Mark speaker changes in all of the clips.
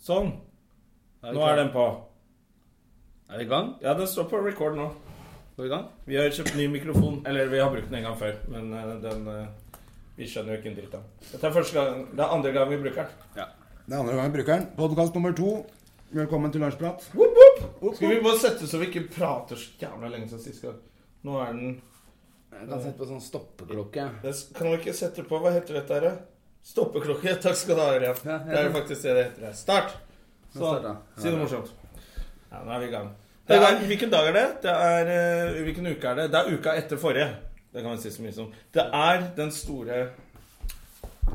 Speaker 1: Sånn.
Speaker 2: Er vi
Speaker 1: Nå
Speaker 2: klar?
Speaker 1: er den på.
Speaker 2: Er vi i gang?
Speaker 1: Ja, den står på record nå.
Speaker 2: Er vi i gang?
Speaker 1: Vi har kjøpt ny mikrofon. Eller vi har brukt den en gang før, men eh, den eh, Vi skjønner jo ikke en dritt av den. Dette er første gang Det er andre gang vi bruker den.
Speaker 3: Det er andre gang jeg bruker den. Podkast nummer to. Velkommen til lunsjprat.
Speaker 1: Woop, woop. Skal vi bare sette så vi ikke prater så jævla lenge som sist gang? Nå er den
Speaker 2: Jeg kan sette på sånn stoppeklokke.
Speaker 1: det s- Kan vi ikke sette på Hva heter dette her? da? Stoppeklokke. Takk skal du ha, Ørjan.
Speaker 2: Ja, ja.
Speaker 1: Det er jo faktisk det det heter. her. Start!
Speaker 2: Nå starter jeg.
Speaker 1: Si noe morsomt. Ja, nå er vi i gang. Det er, hvilken dag er det? det er, eh, hvilken uke er det? Det er uka etter forrige. Det kan vi si så mye som. Det er den store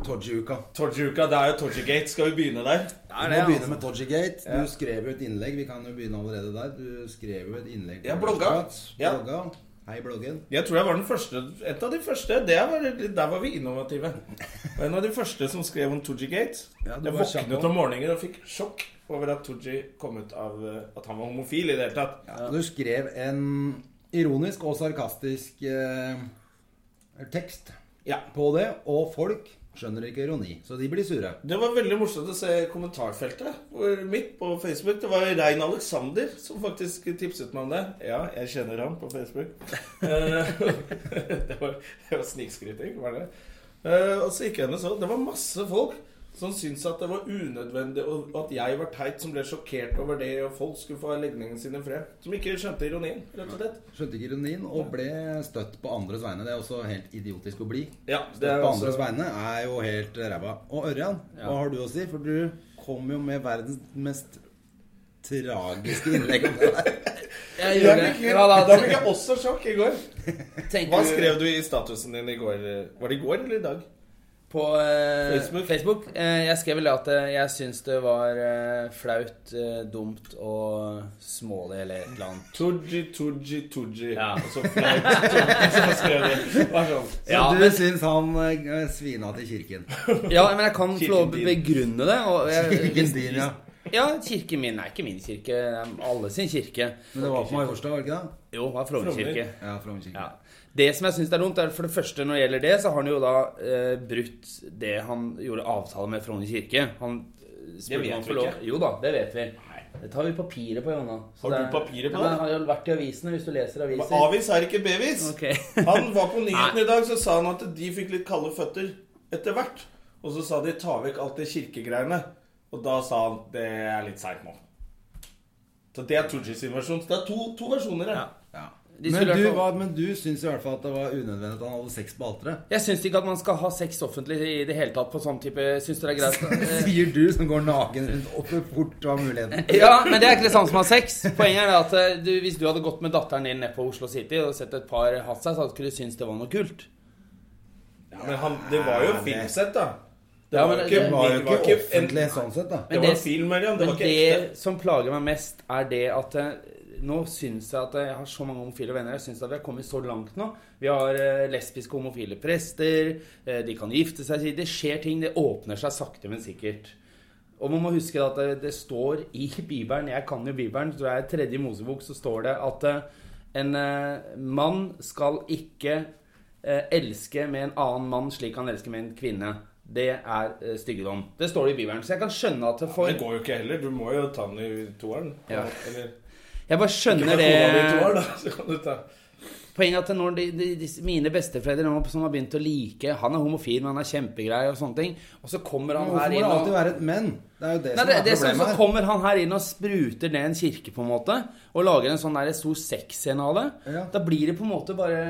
Speaker 3: Todgy-uka.
Speaker 1: Torgy-uka. Det er jo Torgy-gate. Skal vi begynne der?
Speaker 2: Det
Speaker 3: Vi
Speaker 2: er
Speaker 3: må
Speaker 2: det,
Speaker 3: begynne
Speaker 2: altså.
Speaker 3: med Todgy-gate.
Speaker 1: Ja.
Speaker 3: Du skrev jo et innlegg. Vi kan jo begynne allerede der. Du skrev jo et innlegg. på
Speaker 1: Jeg blogga.
Speaker 3: Lunsjprat.
Speaker 1: Ja.
Speaker 3: blogga. Hei, bloggen.
Speaker 1: Jeg tror jeg var den første, et av de første. Det var, der var vi innovative. Og en av de første som skrev om Torgy-gate.
Speaker 3: Ja, du
Speaker 1: jeg
Speaker 3: var kjapp
Speaker 1: våknet
Speaker 3: nå.
Speaker 1: om morgenen og fikk sjokk over at Torgy kom ut av eh, At han var homofil i det hele tatt.
Speaker 3: Ja. Du skrev en ironisk og sarkastisk eh, tekst
Speaker 1: Ja.
Speaker 3: på det, og folk skjønner ikke ironi, så de blir sure.
Speaker 1: Det var veldig morsomt å se kommentarfeltet hvor- mitt på Facebook. Det var Rein Alexander som faktisk tipset meg om det. Ja, jeg kjenner ham på Facebook. Eh, det var, det var snikskryting, var det. Eh, Og så gikk jeg inn og så. Det var masse folk som syntes at det var unødvendig, og at jeg var teit som ble sjokkert over det, og folk skulle få legningene sine i fred. Som ikke skjønte ironien, rett og slett.
Speaker 3: Skjønte ikke ironien og ble støtt på andres vegne. Det er også helt idiotisk å bli.
Speaker 1: Ja,
Speaker 3: Det
Speaker 1: er
Speaker 3: på
Speaker 1: også-
Speaker 3: andres vegne er jo helt ræva. Og Ørjan,
Speaker 2: Ja.
Speaker 3: hva har du å si? For du kom jo med verdens mest tragiske innlegg om det der.
Speaker 2: Jeg
Speaker 1: Jeg
Speaker 2: gjør
Speaker 1: fikk helt-
Speaker 2: det. Ja,
Speaker 1: Da fikk jeg også sjokk i går.
Speaker 2: tenker
Speaker 1: Hva skrev du i statusen din i går? Var det i går eller i dag?
Speaker 2: På eh,
Speaker 1: Facebook?
Speaker 2: Facebook. Eh, jeg skrev vel at eh, jeg syns det var eh, flaut, eh, dumt og smålig eller et eller annet.
Speaker 1: Tooji, Tooji, Tooji.
Speaker 2: Ja.
Speaker 1: Og så flaut. Tooji som skrev det. Bare sånn.
Speaker 3: Så
Speaker 2: Ja,
Speaker 3: du
Speaker 2: men-
Speaker 3: syns han eh, svina til kirken.
Speaker 2: Ja, men jeg kan få lov å
Speaker 1: Kirken din.
Speaker 2: begrunne det. Og jeg,
Speaker 3: Kirken din, ja.
Speaker 2: ja, kirken min er ikke min kirke. Det er alle sin kirke.
Speaker 3: Men det var på Majorstad, var det ikke det?
Speaker 2: Jo, det er Frogner
Speaker 1: Frogner.
Speaker 2: kirke.
Speaker 3: Ja, fra Ungkirken.
Speaker 2: Ja. Det som jeg syns er dumt, er for det første når det gjelder det, så har han jo da eh, brutt det han gjorde avtale med Frogner kirke. Han eh, spurte
Speaker 1: vet
Speaker 2: om han
Speaker 1: vi
Speaker 2: får lov-
Speaker 1: ikke.
Speaker 2: Jo da, det vet vi. Det tar vi papiret på, Jonna. Så
Speaker 1: Har du
Speaker 2: det er-
Speaker 1: papiret på
Speaker 2: Ja, men
Speaker 1: det?
Speaker 2: Det har jo vært i avisene, hvis du leser
Speaker 1: Men
Speaker 2: aviser.
Speaker 1: Avis er ikke bevis.
Speaker 2: Ok.
Speaker 1: Han var på nyheten i dag, så sa han at de fikk litt kalde føtter etter hvert. Og så sa de ta vekk alt det kirkegreiene. Og da sa han det er litt seigt nå. Så det er Tooji sin versjon. Så Det er to, to versjoner her.
Speaker 2: Ja.
Speaker 3: Ja.
Speaker 2: De
Speaker 3: Men
Speaker 2: skulle i
Speaker 3: du,
Speaker 2: hvert fall-
Speaker 3: var- men du syns i hvert fall at det var unødvendig at han hadde sex på alteret.
Speaker 2: Jeg syns ikke at man skal ha sex offentlig i det hele tatt på sånn type Syns dere det er greit? Eh,
Speaker 3: Sier du som går naken rundt oppe fort og har muligheten.
Speaker 2: Ja, men det er ikke det samme som å ha sex. Poenget er det at eh, du, hvis du hadde gått med datteren din ned på Oslo City og sett et par hatt seg, så hadde ikke du syntes det var noe kult.
Speaker 1: Ja, men han, det var jo
Speaker 3: Ja, det-
Speaker 1: filmsett, da. Det
Speaker 2: Ja,
Speaker 1: var
Speaker 2: men
Speaker 1: jo
Speaker 2: det-
Speaker 1: ikke,
Speaker 3: Det var jo
Speaker 1: det var
Speaker 3: ikke
Speaker 1: ikke en-
Speaker 3: offentlig sånn sett, da.
Speaker 1: Det
Speaker 2: Men
Speaker 1: var
Speaker 2: det-
Speaker 1: film, Marian. Det
Speaker 2: Men
Speaker 1: var
Speaker 2: det,
Speaker 1: ikke ekte.
Speaker 2: som plager meg mest, er det at eh, nå syns jeg at jeg har så mange homofile venner. Jeg syns at vi har kommet så langt nå. Vi har eh, lesbiske og homofile prester. eh, De kan gifte seg. Det skjer ting. Det åpner seg sakte, men sikkert. Og man må huske at det, det står i Bibelen Jeg kan jo Bibelen. Tror jeg i tredje Mosebok så står det at eh, en eh, mann skal ikke eh, elske med en annen mann slik han elsker med en kvinne. Det er eh, styggedom. Det står det i Bibelen. Så jeg kan skjønne at det for
Speaker 1: Det går jo ikke heller. Du må jo ta den i toeren.
Speaker 2: Ja.
Speaker 1: Eller
Speaker 2: Jeg bare skjønner det
Speaker 1: Kona di i toeren, da. Så kan du ta
Speaker 2: Poenget er at når de, de, disse- mine besteforeldre nå som har begynt å like Han er homofil, men han er kjempegrei og sånne ting. Og så kommer han
Speaker 3: Hvorfor må
Speaker 2: her
Speaker 3: det
Speaker 2: inn
Speaker 3: alltid
Speaker 2: og
Speaker 3: være et men? Det er jo det
Speaker 2: Nei,
Speaker 3: som
Speaker 2: det,
Speaker 3: er
Speaker 2: det, er sånn, så
Speaker 3: problemet her.
Speaker 2: kommer han her inn og spruter ned en kirke, på en måte. Og lager en sånn der stor sexscene av det.
Speaker 3: Ja.
Speaker 2: Da blir det på en måte bare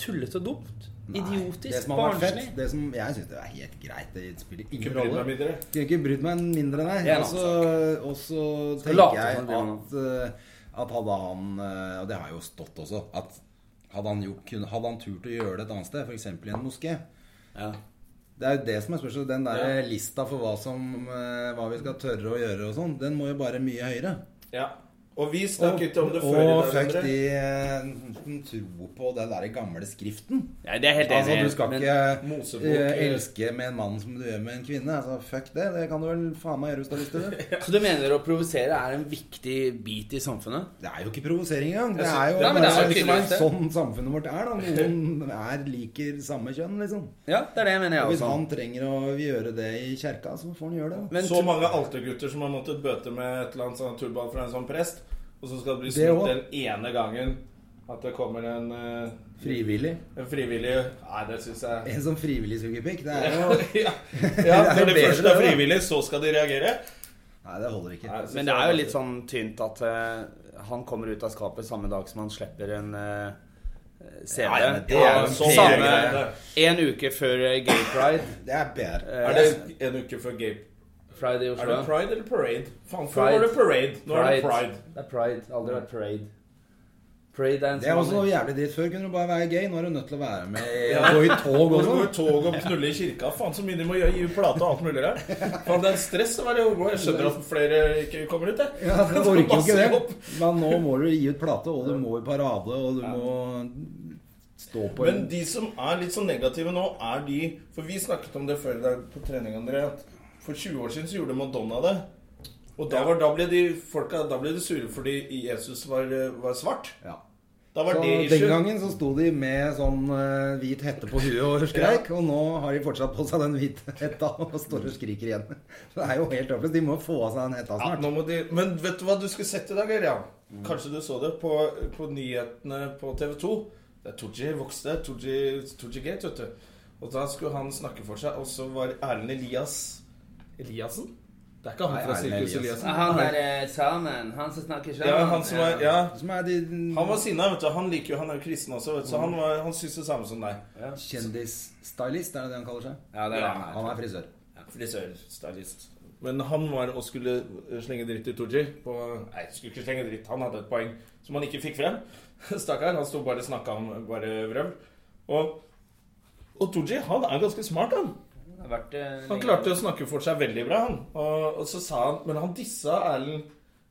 Speaker 2: tullete og dumt.
Speaker 3: det
Speaker 2: Idiotisk.
Speaker 3: som har vært
Speaker 2: Barnslig.
Speaker 3: fett, det som jeg syns det er helt greit, det spiller
Speaker 1: Ikke
Speaker 3: ingen
Speaker 1: bry deg
Speaker 3: rolle.
Speaker 1: mindre.
Speaker 3: Skulle ikke brydd meg mindre, nei.
Speaker 2: Det er en
Speaker 3: Og så og så
Speaker 2: Skal late
Speaker 3: tenker jeg
Speaker 2: som det
Speaker 3: at, eh, at hadde han eh, Og det har jo stått også. At hadde han, gjort, kunne, hadde han turt å gjøre det et annet sted, f.eks. i en moské
Speaker 2: Ja.
Speaker 3: Det er jo det som er spørsmålet. Den der lista for hva, som, eh, hva vi skal tørre å gjøre og sånn, den må jo bare mye høyere.
Speaker 1: Ja. Og vi snakket om det før i dag.
Speaker 3: Og
Speaker 1: André.
Speaker 3: fuck de eh, som tror på den der gamle skriften.
Speaker 2: Nei, det er helt
Speaker 3: Altså, du skal
Speaker 2: men-
Speaker 3: ikke
Speaker 1: Mosebok,
Speaker 3: eh,
Speaker 1: eh,
Speaker 3: elske med en mann som du gjør med en kvinne. Altså, fuck det. Det kan du vel faen meg gjøre hvis du har lyst til det.
Speaker 2: Så du mener å provosere er en viktig bit i samfunnet?
Speaker 3: Det er jo ikke provosering engang. Det
Speaker 1: Jeg
Speaker 3: er
Speaker 1: sy-
Speaker 3: jo
Speaker 2: Nei, men det er jo
Speaker 3: bare
Speaker 2: tydeligvis det.
Speaker 3: sånn samfunnet vårt er, da. Noen er, liker samme kjønn, liksom.
Speaker 2: Ja, altså. det er det jeg mener,
Speaker 3: Og
Speaker 2: jeg
Speaker 3: hvis han
Speaker 2: også.
Speaker 3: trenger å gjøre det i kjerka, så får han gjøre det. da.
Speaker 2: Men
Speaker 1: så
Speaker 2: tro-
Speaker 1: mange altergutter som har måttet bøte med et eller annet sånn tullball fra en sånn prest, og så skal det bli
Speaker 3: Det
Speaker 1: snudd
Speaker 3: også.
Speaker 1: den ene gangen at det kommer en, eh,
Speaker 3: Frivillig.
Speaker 1: en frivillig Nei, det syns jeg
Speaker 3: En som frivillig suger pikk, det er jo
Speaker 1: ja. ja,
Speaker 3: er
Speaker 1: når det
Speaker 3: bedre,
Speaker 1: første er
Speaker 3: det, da.
Speaker 1: frivillig, så skal de reagere?
Speaker 3: Nei, det holder ikke.
Speaker 1: Nei, jeg synes
Speaker 2: Men det er jo litt
Speaker 1: vanskelig.
Speaker 2: sånn tynt at eh, han kommer ut av skapet samme dag som han slipper en eh, CD.
Speaker 3: Ja, ja, men det
Speaker 1: er
Speaker 2: Og
Speaker 1: jo en
Speaker 2: samme
Speaker 1: PR-greie.
Speaker 2: en uke før eh, Gay Pride.
Speaker 3: Det er PR.
Speaker 2: eh,
Speaker 1: Er det en uke før Gape?
Speaker 2: Pride i
Speaker 1: Er det
Speaker 2: Oslo?
Speaker 1: pride eller parade? Faen, før
Speaker 2: Pride.
Speaker 1: var det parade. Nå er det pride.
Speaker 2: Det er pride. Aldri vært parade. Parade er en
Speaker 3: Det er også
Speaker 2: sånn-
Speaker 3: noe jævlig dritt. Før kunne du bare være gay. Nå er du nødt til å være med og sånn. gå i tog
Speaker 1: Gå
Speaker 3: også.
Speaker 1: i tog og knulle i kirka. Faen så mye de må gjøre. Gi ut plate og alt mulig der. Faen, det er stress å være homo. Jeg skjønner at flere ikke kommer ut, jeg.
Speaker 3: Ja, Du
Speaker 1: Det er
Speaker 3: orker jo ikke
Speaker 1: masse
Speaker 3: det.
Speaker 1: jobb.
Speaker 3: Men nå må du gi ut plate, og du må i parade, og du må stå på en
Speaker 1: Men de som er litt så negative nå, er de For vi snakket om det før i dag på trening, André. At for 20 år siden så gjorde Madonna det. Og da, var, da, ble, de, folka, da ble de sure fordi Jesus var, var svart.
Speaker 3: ja.
Speaker 1: Da var
Speaker 3: Så
Speaker 1: det
Speaker 3: Den
Speaker 1: issue.
Speaker 3: gangen så sto de med sånn eh, hvit hette på huet og skreik, og nå har de fortsatt på seg den hvite hetta og står og skriker igjen. Så det er jo helt håpløst. De må få av seg den hetta
Speaker 1: Ja,
Speaker 3: snart.
Speaker 1: nå må de, men vet du hva du skulle sett i dag, Ørjan? Kanskje du så det på, på nyhetene på TV 2. Det er Tooji vokste. Tooji Tooji Gate, vet du. Og da skulle han snakke for seg, og så var Erlend Elias Eliassen? Det er ikke
Speaker 3: Nei,
Speaker 1: han fra
Speaker 3: Erlend
Speaker 1: Sirkus
Speaker 3: Elias.
Speaker 1: Eliassen?
Speaker 2: Han er eh, sammen. Han som snakker sammen.
Speaker 1: Ja, han som var Ja.
Speaker 3: Som er de
Speaker 1: Han var sinna, vet du. Han liker jo, han er jo kristen også, vet du. Så han, var, han syns det samme som deg.
Speaker 2: Ja.
Speaker 3: kjendisstylist, er det det han kaller seg?
Speaker 2: Ja, det er det han er.
Speaker 3: Han er frisør.
Speaker 1: Frisørstylist. Men han var og skulle eh, slenge dritt til Tooji. På, nei, skulle ikke slenge dritt. Han hadde et poeng som han ikke fikk frem. Stakkar. Han sto bare og snakka om bare vrøvl. Og, og Tooji, han er ganske smart, han.
Speaker 2: Det har vært, eh,
Speaker 1: Han
Speaker 2: lenge.
Speaker 1: klarte å snakke for seg veldig bra, han. Og, og så sa han Men han dissa Erlend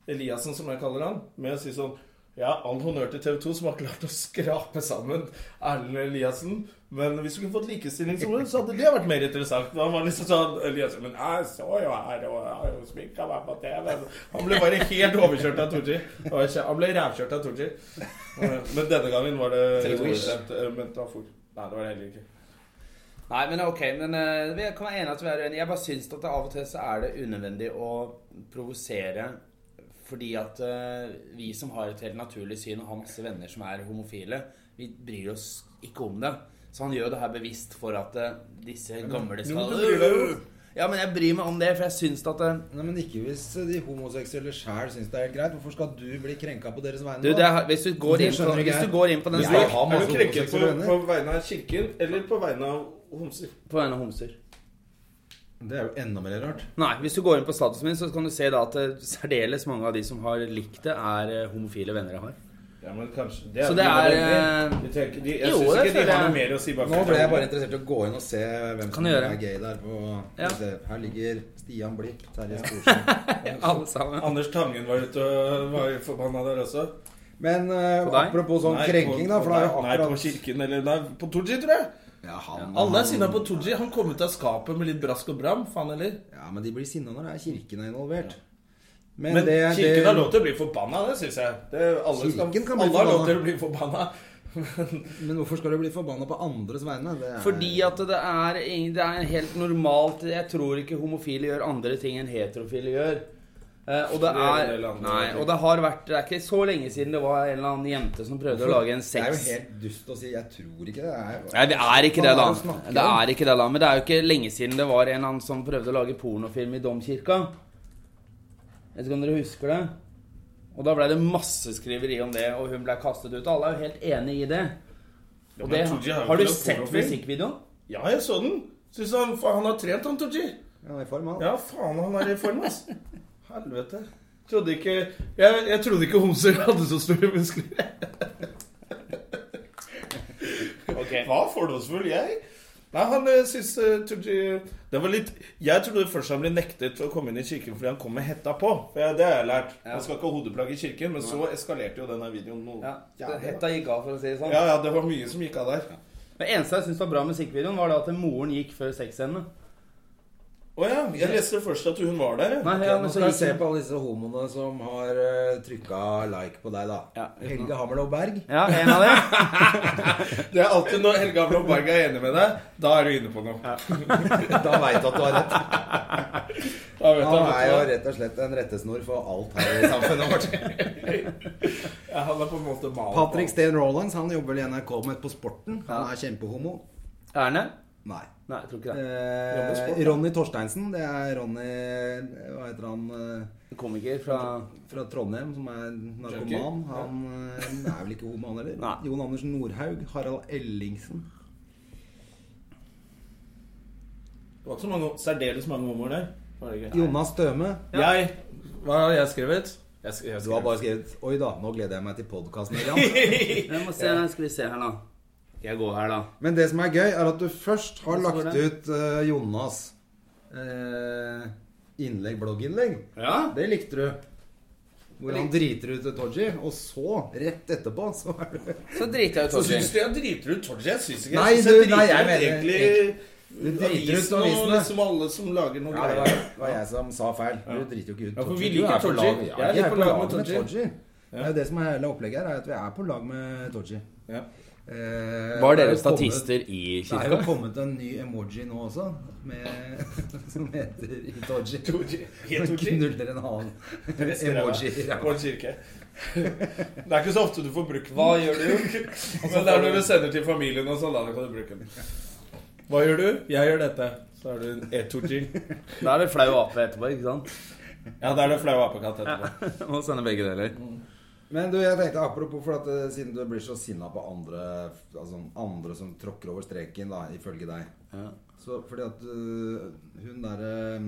Speaker 1: Eliassen, som jeg kaller han, med å si sånn Ja, all honnør til TV 2 som har klart å skrape sammen Erlend Eliassen. Men hvis du kunne fått likestillingsord, så hadde det vært mer interessant. Da var liksom sånn Eliassen Men jeg så jo her, og jeg har jo sminka meg på TV. Han ble bare helt overkjørt av Tooji. Og jeg kjen- Han ble rævkjørt av Tooji. Men denne gangen var det
Speaker 2: Tooji.
Speaker 1: et eh, metafor. Nei, det var det heller ikke.
Speaker 2: Nei, men ok, men eh, vi kan være enige at vi er uenige. Jeg bare syns at det av og til så er det unødvendig å provosere fordi at eh, vi som har et helt naturlig syn og har masse venner som er homofile, vi bryr oss ikke om det. Så han gjør jo det her bevisst for at eh, disse gamle
Speaker 1: jo,
Speaker 2: skal
Speaker 1: du bryr deg jo.
Speaker 2: Ja, men jeg bryr meg om det, for jeg syns at eh,
Speaker 3: Nei, men Ikke hvis de homoseksuelle sjæl syns det er helt greit. Hvorfor skal du bli krenka på deres vegne?
Speaker 2: du, det er, hvis, du går
Speaker 3: Det
Speaker 2: inn på,
Speaker 3: skjønner ikke
Speaker 2: hvis
Speaker 3: jeg.
Speaker 2: du går inn på den
Speaker 3: Jeg
Speaker 1: Er
Speaker 2: siden
Speaker 3: har
Speaker 1: du- er du
Speaker 3: masse
Speaker 1: krenket på,
Speaker 3: homoseksuelle venner.
Speaker 1: på vegne av kirken eller på vegne av homser?
Speaker 2: På vegne av homser.
Speaker 3: Det er jo enda mer rart.
Speaker 2: Nei, hvis du går inn på statusen min, så kan du se da at eh, særdeles mange av de som har likt det, er eh, homofile venner jeg har.
Speaker 1: Ja, men kanskje
Speaker 2: Så det er, eh,
Speaker 1: de tenker, de, Jeg
Speaker 2: jo,
Speaker 1: syns
Speaker 2: det
Speaker 1: ikke
Speaker 2: føler
Speaker 1: de har
Speaker 2: jeg.
Speaker 1: noe mer å si bak
Speaker 3: Nå ble jeg bare interessert i å gå inn og se hvem
Speaker 2: Kan
Speaker 3: som
Speaker 2: du gjøre?
Speaker 3: er gay der. På,
Speaker 2: Ja.
Speaker 3: Skal vi se, Her ligger Stian Blipp, Terje Storsen.
Speaker 2: Alle sammen.
Speaker 1: Anders Tangen var ute og var forbanna der også.
Speaker 3: Men eh,
Speaker 2: På deg?
Speaker 3: apropos sånn
Speaker 1: Nei,
Speaker 3: krenking,
Speaker 1: på-
Speaker 3: da. For det er jo
Speaker 1: på- Nei,
Speaker 3: akkurat
Speaker 1: på kirken, eller nei, på Tooji, tror jeg.
Speaker 3: ja, han,
Speaker 1: Alle er sinna på Tooji. Han kom ut av skapet med litt brask og bram, faen heller.
Speaker 3: Ja, men de blir sinna når det er kirken er involvert. Men,
Speaker 1: Men
Speaker 3: det,
Speaker 1: kirken
Speaker 3: det,
Speaker 1: har lov til å bli forbanna, det syns jeg. Det, alle skal,
Speaker 3: Kirken kan bli
Speaker 1: alle har lov
Speaker 3: forbanna.
Speaker 1: til å bli forbanna. Men
Speaker 3: men hvorfor skal du bli forbanna på andres vegne? Det er,
Speaker 2: Fordi at det er, ingen- det er helt normalt Jeg tror ikke homofile gjør andre ting enn heterofile gjør. Eh, og det
Speaker 1: Det er en
Speaker 2: er
Speaker 1: del andre
Speaker 2: Nei,
Speaker 1: ting.
Speaker 2: og det har vært Det er ikke så lenge siden det var en eller annen jente som prøvde å lage en
Speaker 3: Det er jo
Speaker 2: sex...
Speaker 3: helt dust å si 'jeg tror ikke det'. det.
Speaker 2: Nei, det er ikke det,
Speaker 3: Hva
Speaker 2: da.
Speaker 3: er det du snakker
Speaker 2: Det
Speaker 3: om?
Speaker 2: er ikke det da Men det er jo ikke lenge siden det var en eller annen som prøvde å lage pornofilm i domkirka. Jeg vet ikke om dere husker det? Og da ble det masse skriveri om det, og hun ble kastet ut. Alle er jo helt enig i det. Og
Speaker 1: men
Speaker 2: det
Speaker 1: Tooji har jo
Speaker 2: har du
Speaker 1: ikke lagd
Speaker 2: sett
Speaker 1: pornofilm.
Speaker 2: musikkvideoen?
Speaker 1: Ja, jeg så den. Syns han faen, han har trent, han Tooji.
Speaker 3: Ja, i form, han.
Speaker 1: Ja, faen, han er i form, ass. Helvete. Trodde ikke, jeg, jeg trodde ikke homser hadde så store muskler.
Speaker 2: Ok.
Speaker 1: Hva fordomsfull jeg? Nei, han eh, syntes eh, trodde- Det var litt Jeg trodde først han ble nektet å komme inn i kirken fordi han kom med hetta på. For jeg, det har jeg lært.
Speaker 2: Ja.
Speaker 1: Man skal ikke ha hodeplagg i kirken. Men så eskalerte jo denne videoen noe.
Speaker 2: Ja,
Speaker 1: Ja, det var-
Speaker 2: Hetta gikk av, for å si det sånn.
Speaker 1: ja, ja, det var mye som gikk av der.
Speaker 2: Det eneste jeg syntes var bra med musikkvideoen, var det at moren gikk før sexscenene.
Speaker 1: Å ja. Jeg leste først at hun var der.
Speaker 2: Nei,
Speaker 3: Ok,
Speaker 2: ja,
Speaker 3: nå
Speaker 2: men så
Speaker 3: skal vi
Speaker 2: gikk
Speaker 3: se
Speaker 2: hun
Speaker 3: på alle disse homoene som har uh, trykka like på deg, da.
Speaker 2: Ja, uten å-
Speaker 3: Helge Hammerlov Berg.
Speaker 2: Ja, en av dem.
Speaker 1: Det er alltid når Helga Blomberg er enig med deg, da er du inne på noe.
Speaker 3: Da veit du at du har rett.
Speaker 1: Da vet
Speaker 3: Han er jo
Speaker 1: han,
Speaker 3: rett og slett en rettesnor for alt her i samfunnet vårt.
Speaker 1: ja, han er på en måte malen.
Speaker 3: Patrick Steen Rolands han jobber i NRK med på Sporten. Han er kjempehomo.
Speaker 2: Erne?
Speaker 3: Nei.
Speaker 2: Nei, jeg tror ikke det.
Speaker 1: Jobber
Speaker 3: Eh,
Speaker 1: sport, da.
Speaker 3: Ronny Torsteinsen. Det er Ronny Hva heter han eh,
Speaker 2: Komiker fra
Speaker 3: fra Trondheim som er
Speaker 1: Junkie?
Speaker 3: narkoman?
Speaker 1: Ja.
Speaker 3: Han eh, er vel ikke homo, han heller?
Speaker 2: Nei.
Speaker 3: Jon Andersen Nordhaug. Harald Ellingsen.
Speaker 1: Det var ikke så mange, særdeles mange homoer der. Var det ikke?
Speaker 3: Jonas Støme.
Speaker 1: Jeg Hva har jeg skrevet? Jeg, sk- jeg
Speaker 3: Du har
Speaker 1: skrev
Speaker 3: bare skrevet Oi da, nå gleder jeg meg til podkasten igjen.
Speaker 2: Jeg må se, Skal vi se her, da. Jeg går her, da.
Speaker 3: Men det som er gøy, er at du først
Speaker 2: Hva
Speaker 3: har
Speaker 2: står
Speaker 3: lagt
Speaker 2: det?
Speaker 3: ut eh, Jonas eh, innlegg, blogginnlegg.
Speaker 2: Ja?
Speaker 3: Det likte du. Hvor han driter ut Todji. Og så, rett etterpå, så er du
Speaker 2: Så driter jeg ut
Speaker 1: Så syns
Speaker 2: Torgeir.
Speaker 1: du jeg driter ut Torje? Jeg syns ikke
Speaker 3: Nei,
Speaker 1: jeg.
Speaker 3: du-
Speaker 1: syns jeg driter
Speaker 3: nei, jeg
Speaker 1: ut
Speaker 3: mener-
Speaker 1: egentlig
Speaker 3: Du driter ut
Speaker 1: avisen og
Speaker 3: avisene.
Speaker 1: liksom alle som lager noe
Speaker 3: Ja, det var,
Speaker 1: greier.
Speaker 3: det var jeg som sa feil. Du driter jo ikke ut
Speaker 1: Ja, for vi
Speaker 3: Todji.
Speaker 1: liker
Speaker 3: Du er på
Speaker 1: Todji.
Speaker 3: lag-
Speaker 1: Jeg er
Speaker 3: Ja, vi
Speaker 1: litt
Speaker 3: er på lag med
Speaker 1: Todji.
Speaker 3: Todji. Det er jo det som er hele opplegget her, er at vi er på lag med Todji.
Speaker 1: Ja.
Speaker 3: Eh,
Speaker 2: Var
Speaker 3: det er
Speaker 2: dere
Speaker 3: jo kommet-
Speaker 2: statister i
Speaker 3: Det er jo
Speaker 2: kirka?
Speaker 3: kommet en ny emoji nå også, med, som heter Itoji.
Speaker 1: Todji. Helt
Speaker 3: Som
Speaker 1: Todji.
Speaker 3: knuller en annen emoji. i ræva.
Speaker 1: På en kirke. Det er ikke så ofte du får brukt den.
Speaker 2: Hva gjør du?
Speaker 1: Men det er når du sender til familien og sånn, da da kan du bruke den. Hva gjør du? Jeg gjør dette. Så er du en E2G.
Speaker 2: Da er det flau ape etterpå, ikke sant?
Speaker 1: Ja, da er det flau apekatt etterpå.
Speaker 2: Må sende begge deler.
Speaker 3: Men du, jeg tenkte apropos for at eh, siden du blir så sinna på andre Altså andre som tråkker over streken, da, ifølge deg.
Speaker 2: Ja.
Speaker 3: Så fordi at eh, hun derre eh,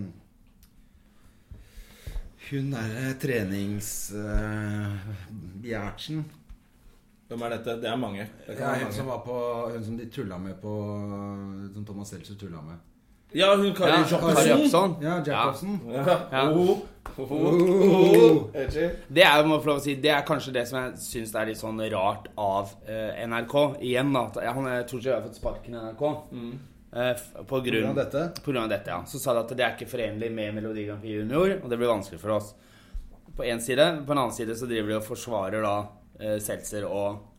Speaker 3: Hun derre trenings... eh, Gjertsen.
Speaker 1: Hvem er dette? Det er mange. Det kan
Speaker 3: Ja,
Speaker 1: være
Speaker 3: hun
Speaker 1: mange.
Speaker 3: som var på Hun som de tulla med på Som Thomas Seltzer tulla med.
Speaker 1: Ja, hun Kari
Speaker 2: Ja, Kari
Speaker 1: Jacobsen.
Speaker 2: Jackson.
Speaker 3: Ja, Jacobsen.
Speaker 1: Ja.
Speaker 2: Ja.
Speaker 1: Oho.
Speaker 2: Uh.
Speaker 3: Oho.
Speaker 1: Edgy.
Speaker 2: Det er, jo, må jeg få lov å si, det er kanskje det som jeg syns er litt sånn rart av eh, NRK. Igjen, da. at- Ja, han er- Tooji har fått sparken i NRK.
Speaker 1: Mm.
Speaker 2: Eh, f- på
Speaker 3: På grunn
Speaker 2: grunn
Speaker 3: av dette.
Speaker 2: På grunn av dette, ja. Så sa de at det er ikke forenlig med Melodi Grand Prix Junior, og det blir vanskelig for oss. På én side. På en annen side så driver de og forsvarer da eh, Seltzer og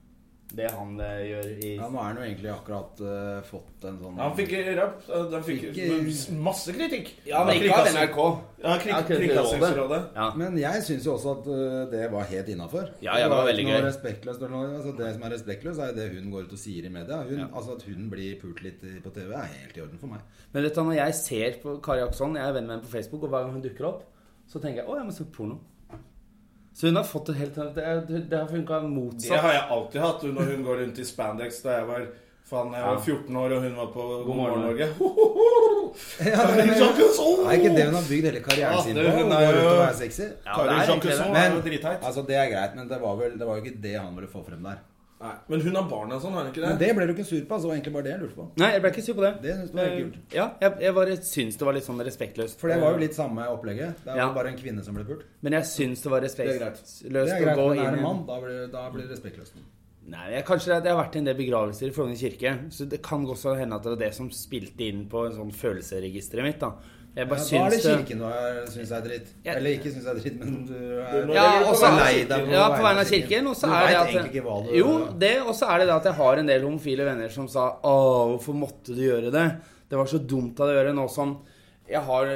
Speaker 2: det han eh, gjør i
Speaker 3: Ja, nå er han jo egentlig akkurat eh, fått en sånn
Speaker 1: Han fikk rapp. Han fikk
Speaker 3: Fikk-
Speaker 1: masse kritikk.
Speaker 2: eh, Ja, men ikke av
Speaker 1: Kringkasting-
Speaker 3: altså.
Speaker 2: NRK.
Speaker 1: Ja, kring-
Speaker 2: Ja,
Speaker 1: Kringkastingsrådet.
Speaker 2: Ja.
Speaker 3: Men jeg syns jo også at eh, det var helt innafor.
Speaker 2: Ja, ja, det var veldig gøy.
Speaker 3: Respektløst, eller noe. altså, det som er respektløst, er jo det hun går ut og sier i media. Hun,
Speaker 2: Ja.
Speaker 3: Altså At hun blir pult litt i- på TV, er helt i orden for meg.
Speaker 2: Men vet du, når jeg ser på Kari Akson, jeg er venn med henne på Facebook, og hver gang hun dukker opp, så tenker jeg å, jeg må se på porno. Så hun har fått det helt Det, er- det har funka
Speaker 1: Det
Speaker 2: motsatt.
Speaker 1: har jeg alltid hatt når hun går rundt i spandex da jeg var Faen, jeg var
Speaker 2: Ja. 14
Speaker 1: 14 år, og hun var på God morgen,
Speaker 2: morgen,
Speaker 1: Norge. Kari Jacobsen!
Speaker 3: Det er ikke det hun har bygd hele
Speaker 1: Ja,
Speaker 3: karrieren sin
Speaker 1: Ah, det-
Speaker 3: på.
Speaker 1: hun
Speaker 3: Hun
Speaker 1: er
Speaker 3: går
Speaker 1: jo-
Speaker 3: ut og er sexy.
Speaker 2: Ja, det
Speaker 1: Kari
Speaker 2: er egentlig det.
Speaker 1: Jacobsen er
Speaker 3: Men
Speaker 1: jo dritheit.
Speaker 3: altså, det er greit, men det var, vel, det var jo ikke det han ville få frem der.
Speaker 1: Nei, Men hun har barn og sånn, har hun ikke det?
Speaker 3: Men det ble du ikke sur på. Altså, det var egentlig bare det jeg lurte på.
Speaker 2: Nei, jeg ble ikke sur på det.
Speaker 3: Det synes du var helt
Speaker 2: Eh, Ja, jeg, jeg bare syns det var litt sånn respektløst.
Speaker 3: For det var jo litt samme opplegget. Det er jo
Speaker 2: Ja.
Speaker 3: bare en kvinne som ble pult.
Speaker 2: Men jeg syns det var
Speaker 1: Det er greit.
Speaker 3: Det
Speaker 2: respektløst
Speaker 3: er
Speaker 2: å
Speaker 3: greit,
Speaker 2: gå
Speaker 3: men
Speaker 2: inn
Speaker 3: er
Speaker 2: i
Speaker 3: det
Speaker 2: en-
Speaker 3: mann, da blir, da blir det respektløst.
Speaker 2: Nei, jeg, kanskje det, det har vært en del begravelser i Frogner kirke, så det kan også hende at det var det som spilte inn på en sånn følelsesregisteret mitt. da. Jeg
Speaker 3: Ja,
Speaker 2: bare
Speaker 3: da er det
Speaker 2: syns det
Speaker 3: kirken du er- syns er dritt.
Speaker 2: Ja.
Speaker 3: Eller ikke syns er dritt, men du er
Speaker 1: Du må-
Speaker 2: ja,
Speaker 1: Eller
Speaker 2: og
Speaker 1: på
Speaker 2: så
Speaker 1: vegne av
Speaker 2: er-
Speaker 1: kirken.
Speaker 2: ja, på vegne av kirken. Og så
Speaker 3: Du
Speaker 2: er det
Speaker 3: vet
Speaker 2: at
Speaker 3: egentlig ikke hva du-
Speaker 2: Jo, det, og så er det det at jeg har en del homofile venner som sa Å, hvorfor måtte du gjøre det? Det var så dumt av deg å gjøre nå som jeg har,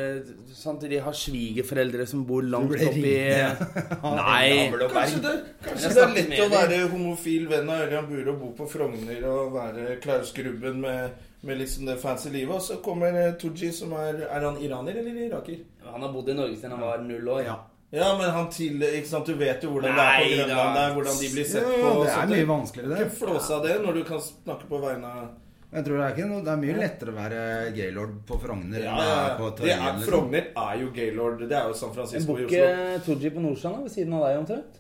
Speaker 2: sant, De har svigerforeldre som bor langt
Speaker 3: ble
Speaker 2: oppi
Speaker 3: ringt
Speaker 2: Nei.
Speaker 1: Kanskje det, kanskje det
Speaker 2: Jeg
Speaker 1: er
Speaker 2: snakker
Speaker 1: lett
Speaker 2: med
Speaker 1: å
Speaker 2: deg.
Speaker 1: være homofil venn av Ørjan Bure og bo på Frogner og være Klaus Grubben med, med liksom det fancy livet. Og så kommer eh, Tooji, som er Er han iraner eller iraker?
Speaker 2: Han har bodd i Norge siden han var null år.
Speaker 3: Ja.
Speaker 1: Ja, men han til Ikke sant, du vet jo hvordan det er
Speaker 2: Nei,
Speaker 1: på Grønland
Speaker 2: da.
Speaker 1: der, hvordan de blir
Speaker 3: Ja,
Speaker 1: sett på.
Speaker 3: ja,
Speaker 1: og
Speaker 3: det er
Speaker 1: sånt.
Speaker 3: mye vanskeligere,
Speaker 1: Ikke
Speaker 3: det.
Speaker 1: flås av det når du kan snakke på vegne av
Speaker 3: Jeg tror det er, ikke noe, det er mye lettere å være gaylord på Frogner enn det er på
Speaker 1: Det
Speaker 3: Tøyen.
Speaker 1: er,
Speaker 3: Liksom.
Speaker 1: Frogner er jo gaylord. Det er jo San Francisco
Speaker 2: Bor
Speaker 1: i
Speaker 2: ikke
Speaker 1: Oslo.
Speaker 2: Tooji på Nordstrand da, ved siden av deg omtrent?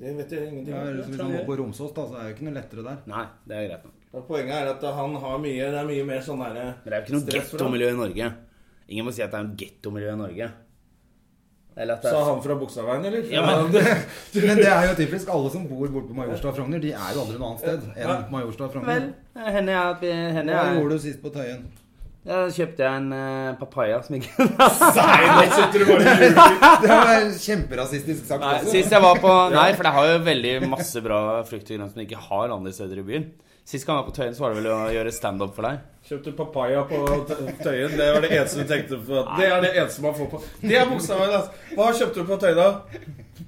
Speaker 1: Det vet jeg ingenting
Speaker 3: Ja, liksom
Speaker 1: om.
Speaker 3: så hvis man går på Romsås, da, så er det jo ikke noe lettere der.
Speaker 2: Nei, det er greit nok.
Speaker 1: Og poenget er at han har mye Det er mye mer sånn derre
Speaker 2: Men det er jo ikke noe
Speaker 1: Stress for han.
Speaker 2: gettomiljø i Norge. Ingen må si at det er noe gettomiljø i Norge. Eller at det
Speaker 1: Sa
Speaker 2: er
Speaker 1: han fra Bogstadveien, eller?
Speaker 2: Ja, men-
Speaker 3: Men det er jo typisk. Alle som bor borte på Majorstua og Frogner, de er jo aldri noe annet sted enn Majorstua og
Speaker 2: Vel,
Speaker 3: Frogner.
Speaker 2: henne jeg, henne
Speaker 3: Hva
Speaker 2: jeg,
Speaker 3: gjorde du sist på Tøyen?
Speaker 2: jeg kjøpte jeg en eh, papaya som ikke
Speaker 1: Nei, nå sitter du bare og ljuger.
Speaker 3: Det var kjemperasistisk sagt
Speaker 2: Nei,
Speaker 3: også.
Speaker 2: sist jeg var på Nei, for det har jo veldig masse bra frukt og grønt som de ikke har andre steder i byen. Sist gang jeg var på Tøyen, så var det vel å gjøre standup for deg.
Speaker 1: Kjøpte papaya på T- Tøyen. Det var det eneste du tenkte på. Det er det eneste man får på Det er Bogstadveien, altså. Hva kjøpte du på Tøyen, da?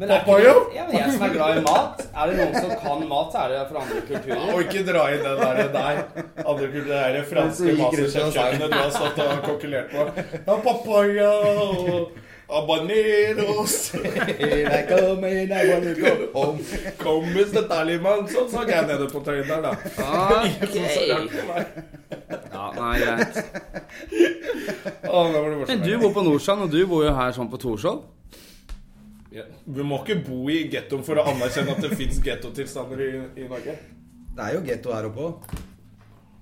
Speaker 1: Papaya?
Speaker 2: Ja, men jeg som er glad i mat. Er det noen som kan mat, så er det fra andre kulturer.
Speaker 1: Og ikke dra inn den der, der andre kulturen, det der franske
Speaker 3: Men så gikk rundt og sa-
Speaker 1: masterchef-kjøkkenet du har stått og kokkelert på. Ja, papaya og Abaneros
Speaker 3: Here I come, here I wanna go home.
Speaker 1: Kom hvis dette er litt mann. Sånn sa jeg nede på tøyen der, da.
Speaker 2: Ok. Ja, nei, greit.
Speaker 1: Å, da var det
Speaker 2: Men
Speaker 1: morsomt.
Speaker 2: du bor på Nordstrand, og du bor jo her sånn på Torshov.
Speaker 1: Ja. Du må ikke bo i gettoen for å anerkjenne at det fins gettotilstander i, i Norge.
Speaker 3: Det er jo getto her oppe òg.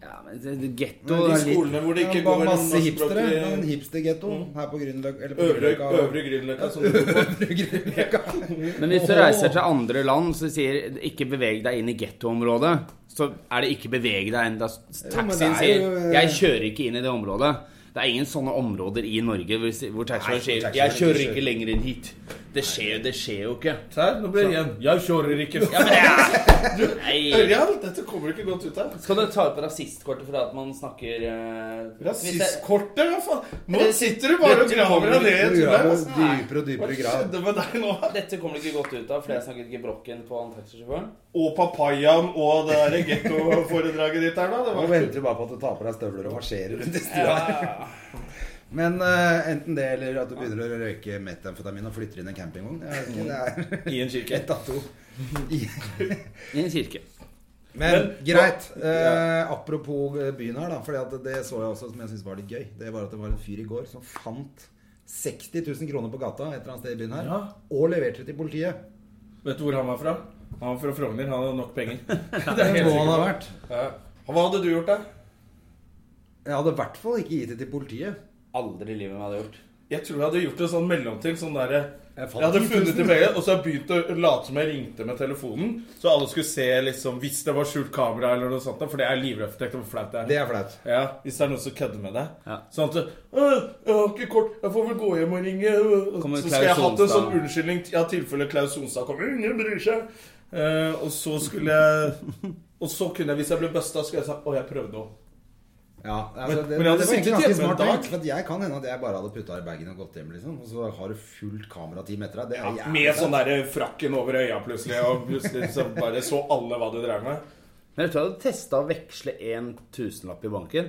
Speaker 2: Ja, men det- det getto
Speaker 1: De
Speaker 2: er litt
Speaker 1: skolene hvor det ikke går
Speaker 3: Ja, bare masse hipstere.
Speaker 1: norskspråklige-
Speaker 3: En hipstergetto her på Grünerløkka. eller på
Speaker 1: Øvre,
Speaker 3: Grünerløkka.
Speaker 1: øvre Grünerløkka, som du bor på.
Speaker 3: Øvre Grünerløkka.
Speaker 2: Men hvis du reiser til andre land så sier 'ikke beveg deg inn i gettoområdet', så er det 'ikke beveg deg inn'. Da
Speaker 3: Jo, men
Speaker 2: taxien
Speaker 3: det er
Speaker 2: sier
Speaker 3: jo, eh,
Speaker 2: 'jeg kjører ikke inn i det området'. Det er ingen sånne områder i Norge hvor, hvor taxien
Speaker 3: Nei,
Speaker 2: sier
Speaker 3: taxien
Speaker 2: 'jeg
Speaker 3: ikke
Speaker 2: kjører
Speaker 3: kjører.
Speaker 2: ikke lenger inn hit'. Det skjer, jo- det skjer jo ikke.
Speaker 1: Her, nå blir det igjen. Jeg kjører ikke.
Speaker 2: Ja, men det er Nei.
Speaker 1: Ørjan, dette kommer ikke godt ut av.
Speaker 2: Skal du ta ut på rasistkortet for at man snakker eh, hvis det-
Speaker 1: Rasistkortet, hva faen? Nå
Speaker 2: Eller-
Speaker 1: sitter du bare og graver deg ned i
Speaker 3: Du
Speaker 1: et hull her.
Speaker 3: graver
Speaker 1: altså.
Speaker 3: dypere og
Speaker 1: Hva
Speaker 3: dypere grav.
Speaker 1: skjedde med deg nå?
Speaker 2: Dette kommer du ikke godt ut av, fordi jeg snakket gebrokken på han taxisjåføren.
Speaker 1: Og papayaen og det der gettoforedraget ditt her, da. Det
Speaker 3: Nå
Speaker 1: var
Speaker 3: venter du bare på at du tar på deg støvler og marsjerer rundt i stua.
Speaker 2: Ja.
Speaker 3: Men eh, enten det, eller at du begynner å røyke metamfetamin og flytter inn i en campingvogn. Jeg vet ikke, det
Speaker 1: i en
Speaker 3: er ett av to.
Speaker 2: I en kirke.
Speaker 3: Men
Speaker 1: Men-
Speaker 3: greit. Eh, apropos eh, byen her, da. For det så jeg også som jeg syntes var litt gøy. Det var at det var en fyr i går som fant 60 000 kroner på gata et eller annet sted i byen her.
Speaker 1: Ja.
Speaker 3: Og leverte det til politiet.
Speaker 1: Vet du hvor han var fra? Han var fra Frogner. Han hadde nok penger. Det
Speaker 3: Det
Speaker 1: er
Speaker 3: er
Speaker 1: helt
Speaker 3: hvor han har
Speaker 1: sikkert.
Speaker 3: vært.
Speaker 1: Ja. Hva hadde du gjort, da?
Speaker 3: Jeg hadde i hvert fall ikke gitt det til politiet.
Speaker 2: Aldri i livet meg hadde gjort.
Speaker 1: Jeg tror jeg hadde gjort en sånn mellomting. Sånn derre
Speaker 3: Jeg
Speaker 1: jeg,
Speaker 3: fant
Speaker 1: hadde
Speaker 3: 10 000.
Speaker 1: funnet det begge, og så hadde jeg begynt å late som jeg ringte med telefonen. Så alle skulle se liksom, hvis det var skjult kamera eller noe sånt. da, For det er livrøft. tenk deg hvor flaut det er.
Speaker 3: Det er flaut.
Speaker 1: Ja, Hvis det er noen som kødder med deg.
Speaker 2: Ja.
Speaker 1: Sånn at du, «Øh, 'Jeg har ikke kort. Jeg får vel gå hjem og ringe.' øh».
Speaker 2: Kommer
Speaker 1: så skal jeg
Speaker 2: Klaus
Speaker 1: hatt en
Speaker 2: Sonstad.
Speaker 1: sånn unnskyldning i ja, tilfelle Klaus Sonstad kommer. 'Ingen bryr seg.' Eh, og så skulle jeg Og så kunne jeg, hvis jeg ble busta, skulle jeg sagt 'Å, jeg prøvde òg'.
Speaker 3: Ja,
Speaker 1: Men-
Speaker 3: altså, det,
Speaker 1: men jeg hadde
Speaker 3: det var egentlig
Speaker 1: sittet
Speaker 3: ganske
Speaker 1: hjemme en
Speaker 3: smart
Speaker 1: dag.
Speaker 3: tenkt, For at jeg kan hende at jeg bare hadde putta i bagen og gått hjem, liksom. Og så har du fullt kamerateam etter deg. Det er jævlig
Speaker 1: Med sånn
Speaker 3: flaut.
Speaker 1: derre frakken over øya plutselig, og plutselig så bare så alle hva du drev med.
Speaker 2: Men jeg tror jeg hadde testa å veksle en tusenlapp i banken.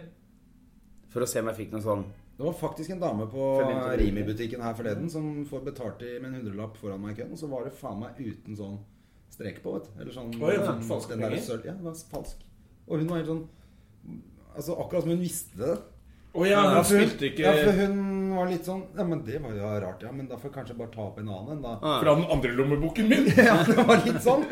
Speaker 2: For å se om jeg fikk noe sånn
Speaker 3: Det var faktisk en dame på
Speaker 2: Følg inn til bilen.
Speaker 3: Rimi-butikken her forleden som får betalt i med en hundrelapp foran meg i køen, og så var det faen meg uten sånn strek på, vet du. Eller sånn
Speaker 1: Oi, det var
Speaker 3: den-
Speaker 1: falske
Speaker 3: den der
Speaker 1: penger?
Speaker 3: sølv- Ja, det var falsk. Og hun var helt sånn Altså akkurat som hun visste det.
Speaker 1: Å ja,
Speaker 3: Ja,
Speaker 1: han
Speaker 3: for hun-
Speaker 1: spilte
Speaker 3: Ja, for
Speaker 1: ikke
Speaker 3: hun var litt sånn Ja, men det var jo rart, ja. Men da får jeg kanskje bare ta opp en annen en, da.
Speaker 1: fra den andre lommeboken min.
Speaker 3: Ja, det var litt sånn.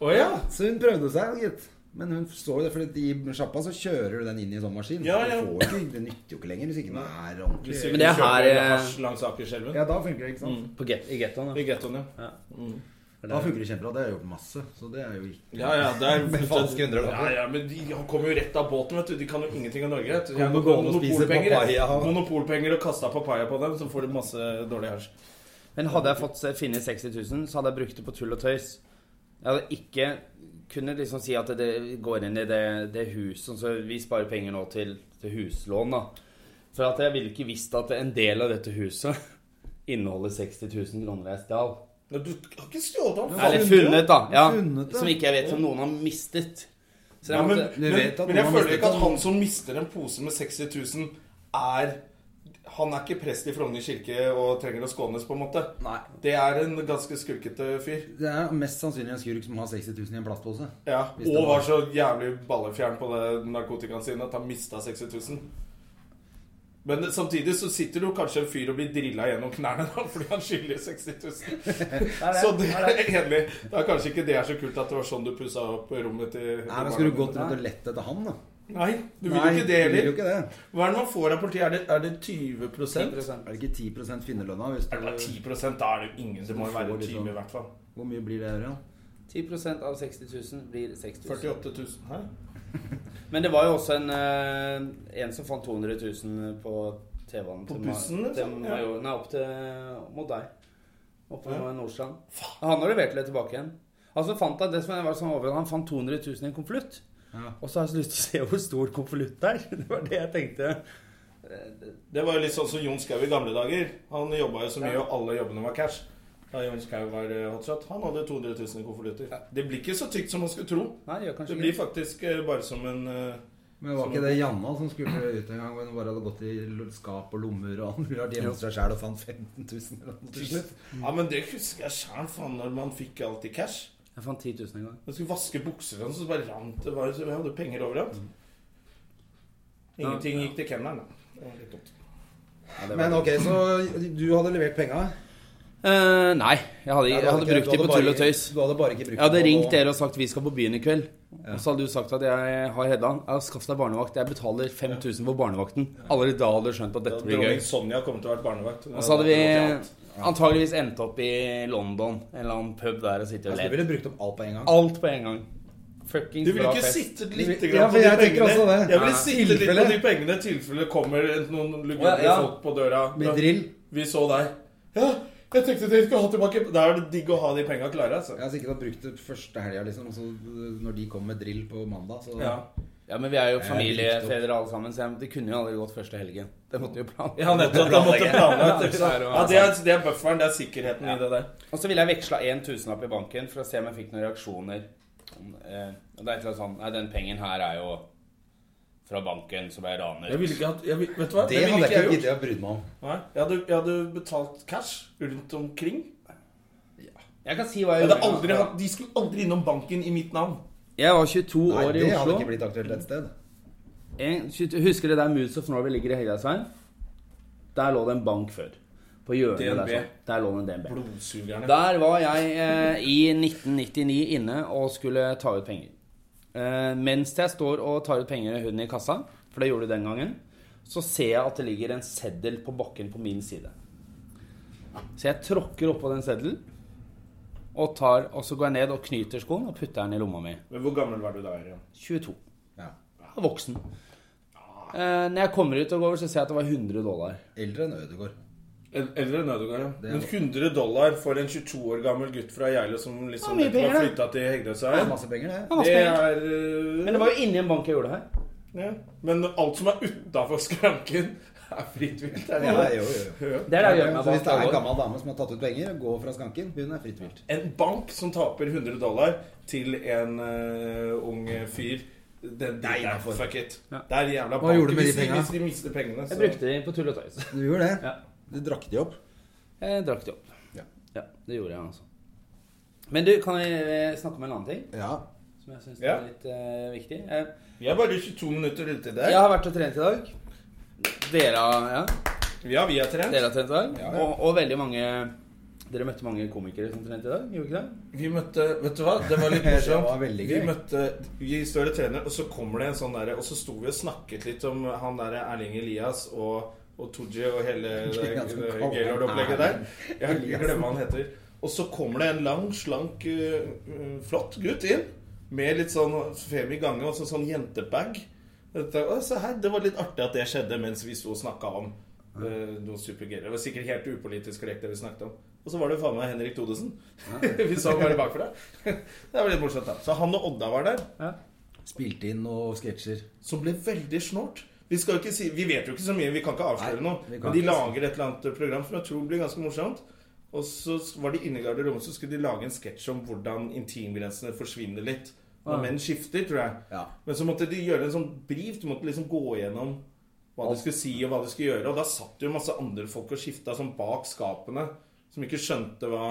Speaker 1: Å ja.
Speaker 3: Så hun prøvde seg, gitt. Men hun så jo det, for i sjappa så kjører du den inn i en sånn maskin.
Speaker 1: Ja, ja.
Speaker 3: Du får jo ikke, det nytter jo ikke lenger hvis ikke den er ordentlig
Speaker 1: Hvis du
Speaker 2: Men det
Speaker 1: ikke Mm.
Speaker 2: her
Speaker 1: kjøper
Speaker 3: eh,
Speaker 2: er-
Speaker 1: hasj langs Akerselven.
Speaker 3: Ja, da funker det, ikke sant?
Speaker 2: på get i gettoen.
Speaker 1: I gettoen, ja.
Speaker 3: Da funker det kjempebra. Det har jeg gjort masse. Så det er jo ikke
Speaker 1: Ja, ja, det er
Speaker 3: Med falske
Speaker 1: Ja,
Speaker 3: hundrelapper.
Speaker 1: ja, men de kommer jo rett av båten, vet du. De kan jo ingenting av Norge. vet du. Jeg
Speaker 3: Kommer
Speaker 1: går på
Speaker 3: gående og spiser
Speaker 1: monopolpenger,
Speaker 3: papaya.
Speaker 1: jeg. monopolpenger og kasta papaya på dem, så får de masse dårlig hasj.
Speaker 2: Men hadde jeg fått se- funnet 60 000, så hadde jeg brukt det på tull og tøys. Jeg hadde ikke kunnet liksom si at det går inn i det, det huset Så vi sparer penger nå til, til huslån, da. For at jeg ville ikke visst at en del av dette huset inneholder 60 000 kroner jeg stjal.
Speaker 1: Men du har ikke stjålet ham?
Speaker 2: Eller funnet, da. Ja,
Speaker 3: Funnet det.
Speaker 2: som ikke jeg vet om noen har mistet. Så jeg
Speaker 1: Ja, men,
Speaker 2: måtte-
Speaker 3: Du
Speaker 1: men,
Speaker 3: vet at
Speaker 1: men jeg
Speaker 3: noen har
Speaker 1: føler
Speaker 3: mistet
Speaker 1: ikke at
Speaker 3: den.
Speaker 1: han som mister en pose med 60 000, er Han er ikke prest i Frogner kirke og trenger å skånes, på en måte.
Speaker 3: Nei.
Speaker 1: Det er en ganske skurkete fyr.
Speaker 3: Det er mest sannsynlig en skurk som har 60 000 i en plastpose.
Speaker 1: Ja,
Speaker 3: Hvis det
Speaker 1: Og
Speaker 3: var-
Speaker 1: var så jævlig ballefjern på det narkotikaen sin at han mista 60 000. Men samtidig så sitter du kanskje en fyr og blir drilla gjennom knærne da, fordi han skylder 60 000. Så det er egentlig Det er kanskje ikke det er så kult at det var sånn du pussa opp rommet til
Speaker 3: Nei, men Skulle du gått rundt og lett etter han, da?
Speaker 1: Nei, du vil jo
Speaker 3: Nei,
Speaker 1: ikke det
Speaker 3: du vil
Speaker 1: heller.
Speaker 3: jo ikke det.
Speaker 1: Hva er det man får av politiet? Er det, er det 20 Er det
Speaker 2: 10%.
Speaker 3: Er det ikke 10 finnerlønna? Hvis du,
Speaker 1: bare 10 Da er det jo ingen som må
Speaker 3: Du får
Speaker 1: være
Speaker 3: litt
Speaker 1: 20 i
Speaker 3: sånn.
Speaker 1: hvert fall.
Speaker 3: hvor mye blir det i øre?
Speaker 2: 10 av 60 000 blir 6000.
Speaker 1: 48 000. Hæ?
Speaker 2: Men det var jo også en, eh, en som fant 200 000 på TV-en
Speaker 1: På
Speaker 2: til Ma-
Speaker 1: bussen, liksom?
Speaker 2: til
Speaker 1: Ja.
Speaker 2: Major- Nei, opp til mot deg. Oppe på
Speaker 1: Ja.
Speaker 2: Nordstrand. Han har levert det tilbake igjen. Altså fant Han det som var sånn over, han fant 200 000 i en konvolutt.
Speaker 3: Ja.
Speaker 2: Og så har jeg så lyst til å se hvor stor konvolutt det er. Det var det jeg tenkte.
Speaker 1: Det var jo litt sånn som Jon Skau i gamle dager. Han jobba jo så mye,
Speaker 2: Ja.
Speaker 1: og alle jobbene var cash. Da Jon Skau var eh, hotshot. Han hadde 200 000 i konvolutter. Det blir ikke så tykt som man skulle tro.
Speaker 2: Nei, det
Speaker 1: Det
Speaker 2: gjør kanskje
Speaker 1: blir
Speaker 2: ikke
Speaker 1: faktisk eh, bare som en eh,
Speaker 3: Men var ikke det Janna som skulle ut en gang? Hvor hun bare hadde gått i l- skap og lommer og han ville vært hjemme hos seg sjæl og fant 15 000 eller noe til slutt?
Speaker 2: Mm.
Speaker 1: Ja, men det husker jeg sjæl, faen, når man fikk alt i cash.
Speaker 2: Jeg fant 10 000 en gang.
Speaker 1: Jeg skulle vaske bukser og sånn, så bare rant det bare, så jeg hadde penger overalt.
Speaker 2: Mm.
Speaker 1: Ingenting gikk til kennelen, da. Det var litt dumt.
Speaker 3: Men ok, så du hadde levert penga?
Speaker 2: Eh, nei, jeg hadde, jeg hadde brukt de på tull og tøys.
Speaker 3: Du hadde bare ikke brukt
Speaker 2: Jeg hadde
Speaker 3: dem på-
Speaker 2: ringt dere og sagt vi skal på byen i kveld. Og så hadde du sagt at jeg har Heddan. Jeg har skaffet deg barnevakt. Jeg betaler 5000 for barnevakten. Allerede da hadde du skjønt at
Speaker 1: Da
Speaker 2: dette blir
Speaker 1: Dronning
Speaker 2: gøy.
Speaker 1: Sonja kommer til å være barnevakt.
Speaker 2: Og så hadde vi antageligvis endt opp i London, en eller annen pub der og sittet og
Speaker 3: Altså, du
Speaker 2: ledd.
Speaker 3: ville brukt opp alt på en gang.
Speaker 2: Alt på en gang. Fuckings
Speaker 1: Du ville
Speaker 2: bra
Speaker 1: ikke
Speaker 2: fest.
Speaker 1: sittet litt
Speaker 3: Ja,
Speaker 1: grann
Speaker 3: for jeg tenker også det.
Speaker 1: Jeg ville
Speaker 2: Ja.
Speaker 1: sittet litt på
Speaker 3: Tilfelle.
Speaker 1: de pengene i tilfelle det kommer en- noen
Speaker 2: Ja,
Speaker 1: lugubre
Speaker 2: ja.
Speaker 1: folk på døra.
Speaker 3: Med drill.
Speaker 1: Vi så deg. Ja, jeg tenkte dere skulle ha tilbake Da er det digg å ha de penga klare, altså.
Speaker 3: Jeg har sikkert brukt det første helga, liksom. Så når de kom med drill på mandag, så
Speaker 1: Ja.
Speaker 2: Ja, men vi er jo
Speaker 3: Jeg er
Speaker 2: familiefedre alle sammen, så jeg- det kunne jo aldri gått første helgen. Det måtte jo planlegge.
Speaker 1: Ja, nettopp. Da måtte planlagt. ikke sant?
Speaker 2: Ja,
Speaker 1: Ja, det
Speaker 3: altså.
Speaker 1: er, det er bufferen. Det er sikkerheten i det der.
Speaker 2: Og så ville jeg veksla en tusenlapp i banken for å se om jeg fikk noen reaksjoner. Om, eh, Og det er et eller annet sånn Nei, den pengen her er jo fra banken som jeg raner.
Speaker 1: Jeg ville ikke hatt jeg vil- Vet du hva?
Speaker 3: Det
Speaker 1: ville
Speaker 3: hadde jeg ikke
Speaker 1: gjort.
Speaker 3: giddet å bry meg om.
Speaker 1: Nei, jeg hadde, jeg hadde betalt cash rundt omkring.
Speaker 2: Jeg kan si hva
Speaker 1: Jeg
Speaker 2: jeg
Speaker 1: hadde aldri hatt, de skulle aldri innom banken i mitt navn.
Speaker 2: Jeg var 22
Speaker 3: Nei,
Speaker 2: år i
Speaker 3: det hadde ikke
Speaker 2: Oslo.
Speaker 3: blitt aktuelt et sted.
Speaker 2: En, 22 husker du der Moods of Norway ligger i Høydalsveien? Der lå det en bank før. På hjørnet
Speaker 1: DNB.
Speaker 2: der. sånn. Der lå det en DNB.
Speaker 1: Blodsugerne.
Speaker 2: Der var jeg eh, i 1999 inne og skulle ta ut penger. Eh, mens jeg står og tar ut penger med hunden i kassa, for det gjorde du den gangen, så ser jeg at det ligger en seddel på bakken på min side. Så jeg tråkker oppå den seddelen, og, tar, og så går jeg ned og knyter skoen og putter den i lomma mi.
Speaker 1: Men hvor gammel var du da? Ørjan?
Speaker 2: 22.
Speaker 3: Ja.
Speaker 2: Jeg er Voksen. Eh, når jeg kommer ut og går over, så ser jeg at det var 100 dollar.
Speaker 3: Eldre enn Ødegård.
Speaker 1: El- Eldre enn Ødegaard, ja.
Speaker 3: er
Speaker 1: Men 100 dollar for en 22 år gammel gutt fra Geilo som liksom
Speaker 2: Det er mye
Speaker 1: nettopp har
Speaker 2: penger,
Speaker 1: flytta til
Speaker 3: Det
Speaker 1: Hegdøysheim
Speaker 3: er masse penger, det.
Speaker 2: Ja, masse
Speaker 1: Det
Speaker 2: penger.
Speaker 1: er
Speaker 2: Men det var jo inni en bank jeg gjorde det her.
Speaker 1: øh, ja. Men alt som er utafor skranken, er fritt vilt. Er det
Speaker 3: Ja,
Speaker 1: det?
Speaker 3: jo, jo, jo.
Speaker 2: Det er det jeg gjør meg
Speaker 3: Så hvis det er
Speaker 2: bak
Speaker 3: en gammel dame som har tatt ut penger, gå fra skanken. Hun er fritt vilt.
Speaker 1: En bank som taper 100 dollar til en øh, ung fyr den,
Speaker 3: Nei,
Speaker 1: der,
Speaker 3: for-
Speaker 1: fuck it.
Speaker 2: Ja.
Speaker 1: Det er jævla
Speaker 3: Hva gjorde
Speaker 1: bank.
Speaker 3: du med de
Speaker 1: Hvis de,
Speaker 3: pengene?
Speaker 1: hvis de mister pengene,
Speaker 2: Jeg brukte de på tull og tøys.
Speaker 3: Du gjorde det?
Speaker 2: Ja.
Speaker 3: Du drakk de opp?
Speaker 2: Jeg Eh, drakk de opp.
Speaker 3: Ja.
Speaker 2: Ja, det gjorde jeg altså. Men du, kan vi eh, snakke om en annen ting
Speaker 3: Ja.
Speaker 2: som jeg syns
Speaker 1: Ja.
Speaker 2: er litt eh, viktig? Eh,
Speaker 1: Vi er bare 22 minutter ute der.
Speaker 2: jeg har vært og trent i dag. Dere, har- ja,
Speaker 1: Ja, vi er trent.
Speaker 2: dere har trent i dag.
Speaker 1: Ja, ja.
Speaker 2: Og, og veldig mange Dere møtte mange komikere som trente i dag, gjorde ikke det?
Speaker 1: Vi møtte Vet du hva? Det var litt morsomt.
Speaker 3: Det var veldig
Speaker 1: Vi
Speaker 3: gøy.
Speaker 1: møtte Vi står og trener, og så kommer det en sånn derre Og så sto vi og snakket litt om han derre Erling Elias og, og Tooji og hele det
Speaker 3: Ja, som
Speaker 1: det
Speaker 3: kaller
Speaker 1: Gaylord-opplegget der.
Speaker 3: Erling
Speaker 1: Jeg
Speaker 3: Elias.
Speaker 1: glemmer hva han heter. Og så kommer det en lang, slank, øh, øh, flott gutt inn med litt sånn femi gange og så sånn jentebag. Dette, å, se her, det var litt artig at det skjedde mens vi sto og snakka om øh, noe supergøy. Det var sikkert helt upolitisk korrekt, det vi snakket om. Og så var det jo faen meg Henrik Thodesen. vi så han bare bakfra. det var litt morsomt, da. Så han og Odda var der,
Speaker 2: Ja.
Speaker 3: Spilte inn noen sketsjer.
Speaker 1: som ble veldig snålt. Vi, skal jo ikke si, vi vet jo ikke så mye, vi kan ikke avsløre
Speaker 3: Nei,
Speaker 1: noe.
Speaker 3: vi kan
Speaker 1: Men de
Speaker 3: ikke.
Speaker 1: lager et eller annet program som jeg tror blir ganske morsomt. Og så var de inne i garderoben, så skulle de lage en sketsj om hvordan intimgrensene forsvinner litt. Når
Speaker 2: Ja.
Speaker 1: menn skifter, tror jeg.
Speaker 3: Ja.
Speaker 1: Men så måtte de gjøre en sånn brief. Du måtte liksom gå gjennom hva de skulle si, og hva de skulle gjøre. Og da satt det jo masse andre folk og skifta sånn bak skapene, som ikke skjønte hva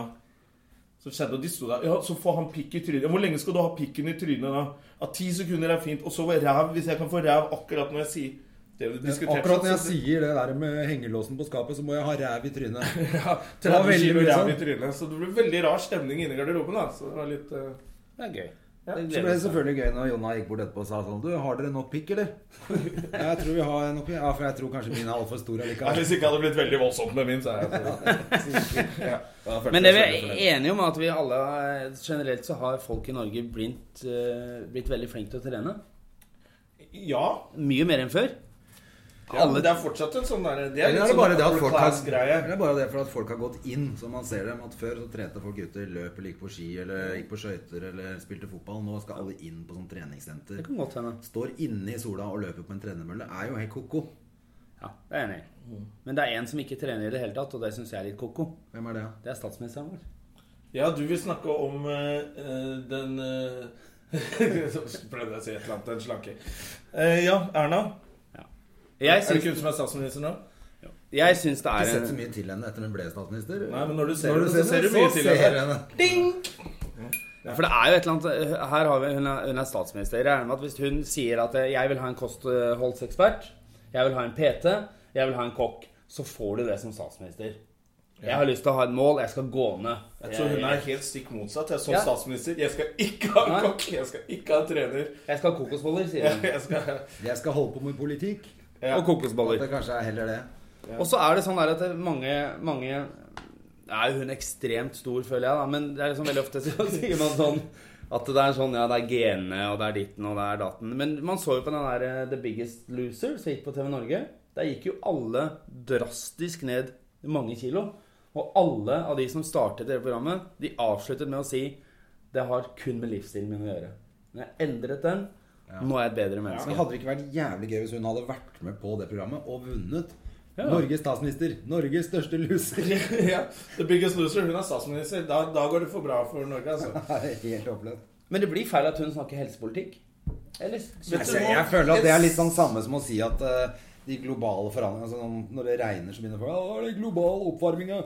Speaker 1: som skjedde. Og de sto der Ja, så får han pikk i trynet. Ja, Hvor lenge skal du ha pikken i trynet da? Ja, ti sekunder er fint. Og så var ræv, hvis jeg kan få ræv akkurat når jeg sier Det vi
Speaker 3: Men
Speaker 1: diskuterte
Speaker 3: Akkurat når jeg
Speaker 1: så-
Speaker 3: sier det der med hengelåsen på skapet, så må jeg ha ræv i trynet.
Speaker 1: ja,
Speaker 3: Det var
Speaker 1: 30 kilo
Speaker 3: veldig mye
Speaker 1: ræv i
Speaker 3: sånn.
Speaker 1: trynet. Så det ble veldig rar stemning inne i garderoben. da Så det var litt eh,
Speaker 2: Det er gøy.
Speaker 1: Ja,
Speaker 2: Det gleder
Speaker 3: Så ble
Speaker 2: jeg
Speaker 3: det
Speaker 2: meg.
Speaker 3: selvfølgelig gøy når Jonna gikk bort etterpå og sa sånn Du, har dere nok pikk, eller? Jeg tror vi har nok pikk. Ja, for jeg tror kanskje min er altfor stor
Speaker 1: Nei,
Speaker 3: allikevel.
Speaker 1: Hvis ikke hadde det blitt veldig voldsomt med min, så er jeg ja.
Speaker 2: Men det vi er enige om, er at vi alle eh, generelt så har folk i Norge blitt, eh, blitt veldig flinke til å trene.
Speaker 1: ja.
Speaker 2: Mye mer enn før.
Speaker 1: ja
Speaker 2: Alle-
Speaker 1: men det er fortsatt en sånn der Det er
Speaker 3: Eller
Speaker 1: litt
Speaker 3: er det bare det at
Speaker 1: sånn
Speaker 3: folk har,
Speaker 1: overclass-greie.
Speaker 3: eller bare det for at folk har gått inn, så man ser dem? At før så trente folk ute, løp eller gikk på ski eller gikk på skøyter eller spilte fotball. Nå skal alle inn på sånn treningssenter.
Speaker 2: Det kan godt hende.
Speaker 3: Står inne i sola og løper på en trenermølle, er jo helt ko-ko.
Speaker 2: Ja, det er jeg enig i.
Speaker 1: Mm.
Speaker 2: Men det er en som ikke trener i det hele tatt, og det syns jeg er litt ko-ko.
Speaker 3: Hvem er det?
Speaker 2: Det er statsministeren vår.
Speaker 1: Ja, du vil snakke om eh, eh, den eh, Så prøvde jeg å si et eller annet. Den slanke. Eh, ja, Erna.
Speaker 2: Jeg
Speaker 1: er det
Speaker 2: syns,
Speaker 1: ikke hun som er statsminister nå?
Speaker 2: jeg syns det
Speaker 3: Ikke
Speaker 2: er
Speaker 3: sett
Speaker 2: en
Speaker 3: så mye til henne etter hun ble statsminister.
Speaker 1: Nei, men når du ser
Speaker 3: Når du
Speaker 1: henne,
Speaker 3: ser
Speaker 1: så ser
Speaker 3: henne,
Speaker 1: du mye
Speaker 3: så
Speaker 1: til
Speaker 3: ser
Speaker 1: henne.
Speaker 3: henne.
Speaker 1: Dink!
Speaker 2: For det er jo et eller annet eh, Her har vi, hun, er, hun er statsminister. Jeg regner med at hvis hun sier at eh, 'jeg vil ha en kostholdsekspert', 'jeg vil ha en PT', 'jeg vil ha en kokk', så får du det som statsminister. Jeg har lyst til å ha et mål. Jeg skal gå ned.
Speaker 1: Jeg tror hun er helt stikk motsatt. Jeg er som
Speaker 2: Ja.
Speaker 1: statsminister. Jeg skal ikke ha en
Speaker 2: Nei.
Speaker 1: kokk, jeg skal ikke ha en trener.
Speaker 2: Jeg skal ha kokosboller, sier hun.
Speaker 1: Jeg skal
Speaker 3: Jeg skal holde på med politikk.
Speaker 1: ja.
Speaker 2: Og
Speaker 3: At
Speaker 2: kokosboller.
Speaker 3: det kanskje er heller det.
Speaker 2: Og så er det sånn der at det- mange, mange er jo hun ekstremt stor, føler jeg, da. Men det er liksom veldig ofte så sier man sånn at det er sånn, ja, det er genene, og det er ditten, og det er datten. Men man så jo på den der eh, The Biggest Loser som gikk på TV Norge. Der gikk jo alle drastisk ned mange kilo. Og alle av de som startet det programmet, de avsluttet med å si det har kun med livsstilen min å gjøre. Men jeg endret den. Nå er jeg et bedre
Speaker 3: Ja,
Speaker 2: menneske.
Speaker 3: men hadde det ikke vært jævlig gøy hvis hun hadde vært med på det programmet og vunnet?
Speaker 2: Ja.
Speaker 3: Norges statsminister. Norges største loser.
Speaker 1: ja. The biggest loser, hun er statsminister. Da, da går det for bra for Norge, altså.
Speaker 3: Helt opplevd.
Speaker 2: Men det blir feil at hun snakker helsepolitikk. Eller
Speaker 1: Vet du
Speaker 3: Altså, jeg
Speaker 1: hva?
Speaker 3: føler at det er litt sånn samme som å si at eh, de globale forandringene altså når- Når det regner, så begynner folk å det er global oppvarming, ja.